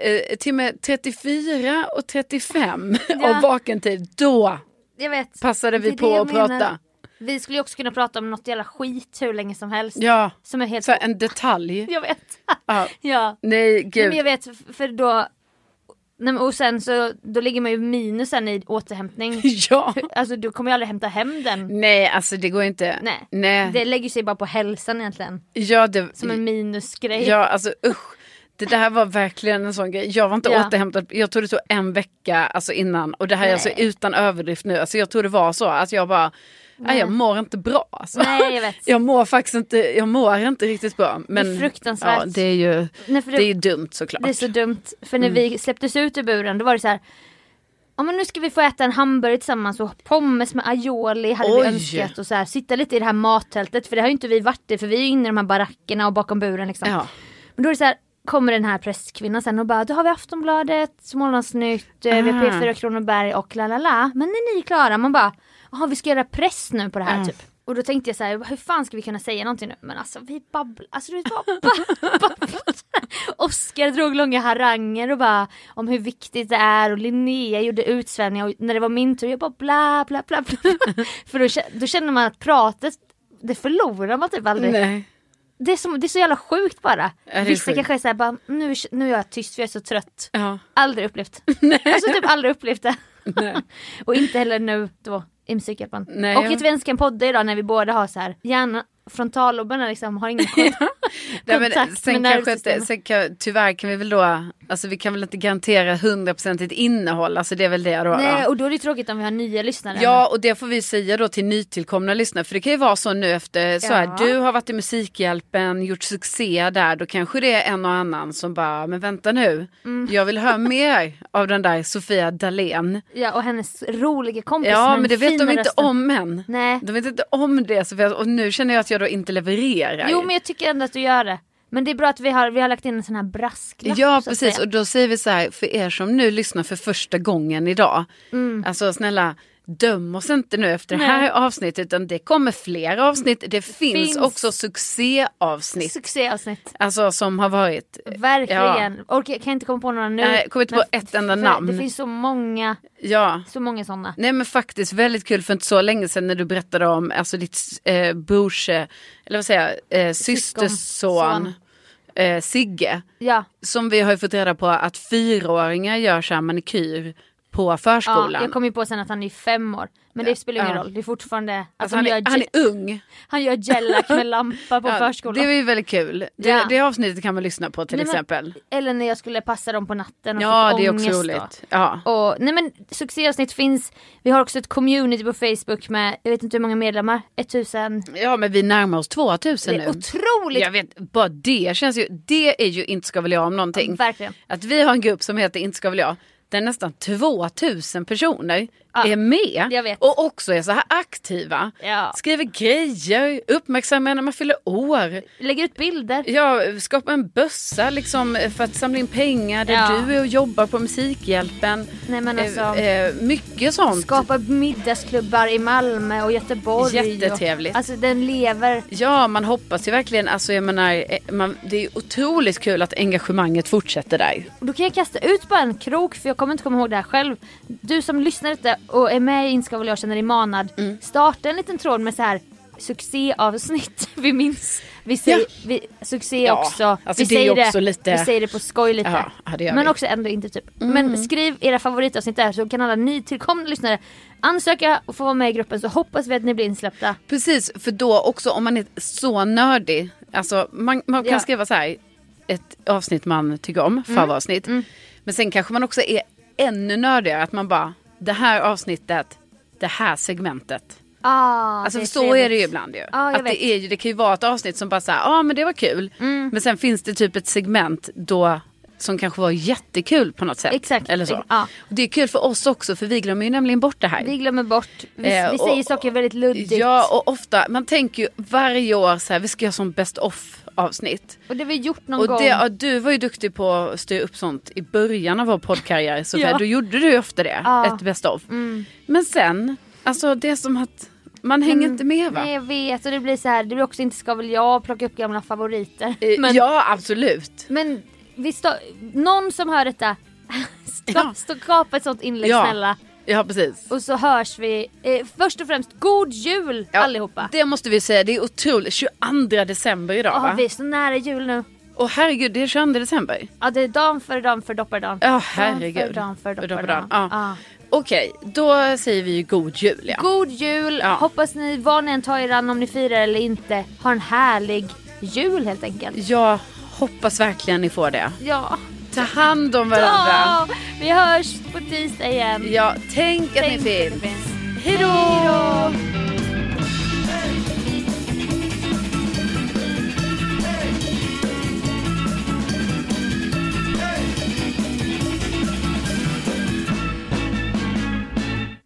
Speaker 2: eh, timme 34 och 35
Speaker 3: Ja.
Speaker 2: av vaken tid. Då
Speaker 3: Jag vet.
Speaker 2: passade vi
Speaker 3: Det är det
Speaker 2: på
Speaker 3: jag
Speaker 2: att
Speaker 3: menar.
Speaker 2: prata.
Speaker 3: Vi skulle ju också kunna prata om något jävla skit hur länge som helst.
Speaker 2: Ja,
Speaker 3: Som är helt...
Speaker 2: så här, en detalj.
Speaker 3: Jag vet.
Speaker 2: Ja.
Speaker 3: ja.
Speaker 2: Nej,
Speaker 3: Nej,
Speaker 2: gud.
Speaker 3: men jag vet, f- för då... Nej, men och sen så då ligger man ju minusen i återhämtning.
Speaker 2: Ja.
Speaker 3: alltså du kommer ju aldrig hämta hem den.
Speaker 2: Nej, alltså det går inte.
Speaker 3: Nej.
Speaker 2: Nej.
Speaker 3: Det lägger sig bara på hälsan egentligen.
Speaker 2: Ja, det...
Speaker 3: Som en minusgrej.
Speaker 2: Ja, alltså usch. Det där var verkligen en sån grej. Jag var inte
Speaker 3: Ja.
Speaker 2: återhämtad. Jag tror det tog en vecka alltså, innan. Och det här är alltså
Speaker 3: Nej.
Speaker 2: utan överdrift nu. Alltså, jag tror det var så att jag bara, nej, jag mår inte bra. Alltså.
Speaker 3: Nej, jag vet.
Speaker 2: Jag mår faktiskt inte, jag mår inte riktigt bra. Men,
Speaker 3: fruktansvärt.
Speaker 2: Ja, det är ju
Speaker 3: Nej, för
Speaker 2: det är ju dumt såklart.
Speaker 3: Det är så dumt. För när
Speaker 2: Mm.
Speaker 3: vi släpptes ut ur buren då var det så här. Ja men nu ska vi få äta en hamburgare tillsammans och pommes med aioli hade vi
Speaker 2: Oj.
Speaker 3: önskat och så här, sitta lite i det här mattältet för det har ju inte vi varit i för vi är ju inne i de här barackerna och bakom buren liksom.
Speaker 2: ja.
Speaker 3: Men då är det så här, kommer den här presskvinnan sen och bara då har vi Aftonbladet, Smålandsnytt, eh, vi har P4 Kronoberg och la la la. Men när ni är klara, man bara jaha vi ska göra press nu på det här typ. Och då tänkte jag så här, hur fan ska vi kunna säga någonting nu? Men alltså vi babblar, alltså du vet bara babblar. Oskar drog långa haranger och bara om hur viktigt det är och Linnea gjorde utsvävningar och när det var min tur jag bara bla bla bla. bla. För då, kä- då känner man att pratet, det förlorar man typ aldrig.
Speaker 2: Nej.
Speaker 3: Det är, som, det är så jävla sjukt bara.
Speaker 2: det är
Speaker 3: Vissa
Speaker 2: sjukt.
Speaker 3: kanske är såhär bara, nu, är- nu är jag tyst för jag är så trött.
Speaker 2: Ja.
Speaker 3: Aldrig upplevt. alltså typ aldrig upplevt det.
Speaker 2: Nej.
Speaker 3: och inte heller nu då i Musikhjälpen.
Speaker 2: Nej,
Speaker 3: och
Speaker 2: jag-
Speaker 3: att vi ens kan podda idag när vi båda har så här hjärnan, frontalloberna liksom har ingen kontakt.
Speaker 2: Nej, men
Speaker 3: Kontakt
Speaker 2: sen
Speaker 3: med
Speaker 2: kanske inte,
Speaker 3: nervsystemet.
Speaker 2: sen kan, tyvärr kan vi väl då, alltså vi kan väl inte garantera hundraprocentigt innehåll, alltså det är väl det då. då.
Speaker 3: Nej, och då är det tråkigt om vi har nya lyssnare.
Speaker 2: Ja, och det får vi säga då till nytillkomna lyssnare. För det kan ju vara så nu efter, så här,
Speaker 3: Ja.
Speaker 2: du har varit i Musikhjälpen, gjort succé där, då kanske det är en och annan som bara, men vänta nu,
Speaker 3: Mm.
Speaker 2: jag vill höra mer av den där Sofia Dalén.
Speaker 3: ja, och hennes roliga kompis med
Speaker 2: Ja,
Speaker 3: den
Speaker 2: men det vet
Speaker 3: fina
Speaker 2: de inte
Speaker 3: rösten.
Speaker 2: om än.
Speaker 3: Nej.
Speaker 2: De vet inte om det, Sofia, och nu känner jag att jag då inte levererar.
Speaker 3: Jo, men jag tycker ändå att du gör det. Men det är bra att vi har, vi har lagt in en sån här brasklapp.
Speaker 2: Ja
Speaker 3: så att
Speaker 2: precis
Speaker 3: säga.
Speaker 2: och då säger vi så här för er som nu lyssnar för första gången idag.
Speaker 3: Mm.
Speaker 2: Alltså snälla döm oss inte nu efter det här avsnittet utan det kommer fler avsnitt. Det finns,
Speaker 3: finns.
Speaker 2: också succéavsnitt.
Speaker 3: Succéavsnitt.
Speaker 2: Alltså som har varit.
Speaker 3: Verkligen. Och jag kan inte komma på några nu.
Speaker 2: Nej, jag kommer inte på
Speaker 3: men
Speaker 2: ett enda
Speaker 3: för-
Speaker 2: namn.
Speaker 3: Det finns så många,
Speaker 2: Ja.
Speaker 3: så många sådana.
Speaker 2: Nej men faktiskt väldigt kul för inte så länge sedan när du berättade om alltså ditt eh, brors, eh, eller vad säger jag, eh, systerson eh, Sigge.
Speaker 3: Ja,
Speaker 2: Som vi har ju fått reda på att fyraåringar gör så här manikyr på
Speaker 3: Ja,
Speaker 2: förskolan.
Speaker 3: jag kom ju på sen att han är fem år. Men det spelar ingen
Speaker 2: Ja.
Speaker 3: roll, det är fortfarande...
Speaker 2: alltså,
Speaker 3: Alltså, han,
Speaker 2: han,
Speaker 3: gör,
Speaker 2: är, han
Speaker 3: ge-
Speaker 2: är ung.
Speaker 3: han gör gellack med lampa på
Speaker 2: Ja,
Speaker 3: förskolan.
Speaker 2: Det var ju väldigt kul. Det,
Speaker 3: Ja.
Speaker 2: det avsnittet kan man lyssna på till
Speaker 3: Nej, men-
Speaker 2: exempel.
Speaker 3: Eller när jag skulle passa dem på natten och
Speaker 2: Ja,
Speaker 3: fick
Speaker 2: det är
Speaker 3: ångest
Speaker 2: också
Speaker 3: då.
Speaker 2: roligt. Ja.
Speaker 3: Och, nej men succéavsnitt finns. Vi har också ett community på Facebook med, jag vet inte hur många medlemmar, 1000.
Speaker 2: ja, men vi närmar oss 2000
Speaker 3: Det
Speaker 2: nu.
Speaker 3: är otroligt!
Speaker 2: Jag vet, bara det känns ju, det är ju inte ska väl jag om någonting.
Speaker 3: Verkligen.
Speaker 2: Att vi har en grupp som heter Inte ska väl jag, där nästan 2000 personer
Speaker 3: Ja,
Speaker 2: är med
Speaker 3: jag vet.
Speaker 2: och också är så här aktiva.
Speaker 3: Ja.
Speaker 2: Skriver grejer, uppmärksammar när man fyller år.
Speaker 3: Lägg ut bilder.
Speaker 2: Ja, skapar en bössa liksom för att samla in pengar där
Speaker 3: Ja.
Speaker 2: du är och jobbar på Musikhjälpen.
Speaker 3: Nej, men
Speaker 2: Eh,
Speaker 3: alltså-
Speaker 2: eh, mycket sånt.
Speaker 3: Skapa middagsklubbar i Malmö och Göteborg.
Speaker 2: Jättetrevligt.
Speaker 3: Och, alltså den lever.
Speaker 2: Ja, man hoppas ju verkligen. Alltså, jag menar, eh, man, det är otroligt kul att engagemanget fortsätter där.
Speaker 3: Och då kan jag kasta ut bara en krok för jag kommer inte komma ihåg det här själv. Du som lyssnar detta och är med i Inska och jag känner dig manad.
Speaker 2: Mm.
Speaker 3: Starta en liten tråd med så här succéavsnitt. Vi minns. Vi säger vi, succé
Speaker 2: Ja,
Speaker 3: också.
Speaker 2: alltså
Speaker 3: vi,
Speaker 2: det är
Speaker 3: säger
Speaker 2: också lite-
Speaker 3: vi säger det på skoj lite.
Speaker 2: Ja, ja, det gör
Speaker 3: Men
Speaker 2: vi. Mm.
Speaker 3: också ändå inte typ. Men skriv era favoritavsnitt där så kan alla nytillkomna lyssnare ansöka och få vara med i gruppen så hoppas vi att ni blir insläppta.
Speaker 2: Precis, för då också om man är så nördig. Alltså man, man kan
Speaker 3: Ja. Mm.
Speaker 2: skriva så här, ett avsnitt man tycker om, favoritavsnitt. Men sen kanske man också är ännu nördigare, att man bara, det här avsnittet, det här segmentet.
Speaker 3: Ah,
Speaker 2: Alltså
Speaker 3: det
Speaker 2: för så är det ju
Speaker 3: trevligt.
Speaker 2: ibland ju.
Speaker 3: Ja, jag
Speaker 2: att
Speaker 3: vet. Mm.
Speaker 2: det, är ju det kan ju vara ett avsnitt som bara så här, ja ah, men det var kul. Men sen finns det typ ett segment då som kanske var jättekul på något sätt.
Speaker 3: Exakt.
Speaker 2: Eller så.
Speaker 3: Ja.
Speaker 2: Och det är kul för oss också för vi glömmer ju nämligen bort det här.
Speaker 3: Vi glömmer bort. Vi,
Speaker 2: Eh,
Speaker 3: vi säger
Speaker 2: och-
Speaker 3: saker väldigt luddigt.
Speaker 2: Ja och ofta, man tänker ju varje år så här, vi ska göra som best off avsnitt.
Speaker 3: Och det har vi gjort någon
Speaker 2: Och
Speaker 3: gång.
Speaker 2: det, ja, du var ju duktig på att styra upp sånt i början av vår poddkarriär Sofia,
Speaker 3: Ja.
Speaker 2: då gjorde du ju ofta det,
Speaker 3: Ja. Mm.
Speaker 2: ett best of. Men sen, alltså det är som att man hänger inte med va?
Speaker 3: Mm. Nej jag vet och det blir så här, det blir också inte ska väl jag plocka upp gamla favoriter.
Speaker 2: Eh,
Speaker 3: Men,
Speaker 2: Ja absolut.
Speaker 3: men vi sta- någon som hör detta, ska,
Speaker 2: Ja.
Speaker 3: ska skapa ett sånt inlägg
Speaker 2: Ja.
Speaker 3: snälla.
Speaker 2: Ja precis.
Speaker 3: Och så hörs vi. Eh, först och främst, god jul
Speaker 2: Ja,
Speaker 3: allihopa!
Speaker 2: Det måste vi säga, det är otroligt. 22 december idag
Speaker 3: Ja,
Speaker 2: va?
Speaker 3: vi är så nära jul nu.
Speaker 2: Och herregud det är 22 december.
Speaker 3: Ja, det är dan för dan för doppardan.
Speaker 2: Ja herregud.
Speaker 3: Dan för dan för
Speaker 2: Doppadan,
Speaker 3: doppardan.
Speaker 2: Ja.
Speaker 3: Ja.
Speaker 2: Okej, då säger vi ju god jul ja.
Speaker 3: God jul!
Speaker 2: Ja.
Speaker 3: Hoppas ni, vad ni än tar er an, om ni firar eller inte, har en härlig jul helt enkelt.
Speaker 2: Jag hoppas verkligen ni får det.
Speaker 3: Ja.
Speaker 2: Ta hand om varandra.
Speaker 3: Ja, vi hörs på tisdag igen.
Speaker 2: Ja, tänk, att ni
Speaker 3: Tänk att
Speaker 2: finns.
Speaker 3: ni finns.
Speaker 2: Hej då!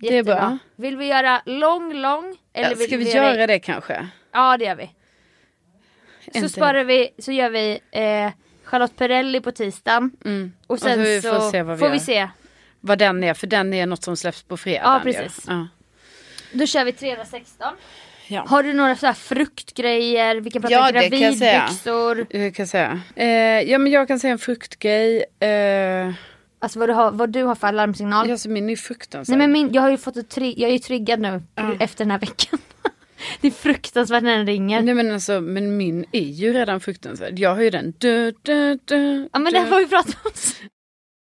Speaker 2: är
Speaker 3: Jättebra.
Speaker 2: bra.
Speaker 3: Vill vi göra lång, lång? Eller
Speaker 2: Ja,
Speaker 3: vill
Speaker 2: Ska vi göra
Speaker 3: det?
Speaker 2: det kanske?
Speaker 3: Ja, det gör vi. Så
Speaker 2: Inte.
Speaker 3: sparar vi, så gör vi eh, Charlotte Perrelli på tisdagen. Och sen
Speaker 2: Mm. Och
Speaker 3: så,
Speaker 2: vi får se vad vi
Speaker 3: får
Speaker 2: gör.
Speaker 3: vi se.
Speaker 2: Vad den är, för den är något som släpps på fredag.
Speaker 3: Ja, precis.
Speaker 2: Ja.
Speaker 3: Då kör vi 316.
Speaker 2: Ja.
Speaker 3: Har du några så här fruktgrejer? Vi kan prata
Speaker 2: Ja, det kan jag säga.
Speaker 3: gravidbyxor.
Speaker 2: Jag kan säga. Eh, ja, men jag kan säga en fruktgrej. Eh,
Speaker 3: Alltså vad du har, vad du har för alarmsignal.
Speaker 2: alltså min är ju fruktansvärd.
Speaker 3: Nej men min, jag har ju fått ett tri- jag är ju triggad nu efter den här veckan. det är fruktansvärt när den ringer.
Speaker 2: Nej, men alltså, men min är ju redan fruktansvärd. Jag har ju den. Du, du, du,
Speaker 3: Ja men
Speaker 2: du.
Speaker 3: det här får vi prata om sen.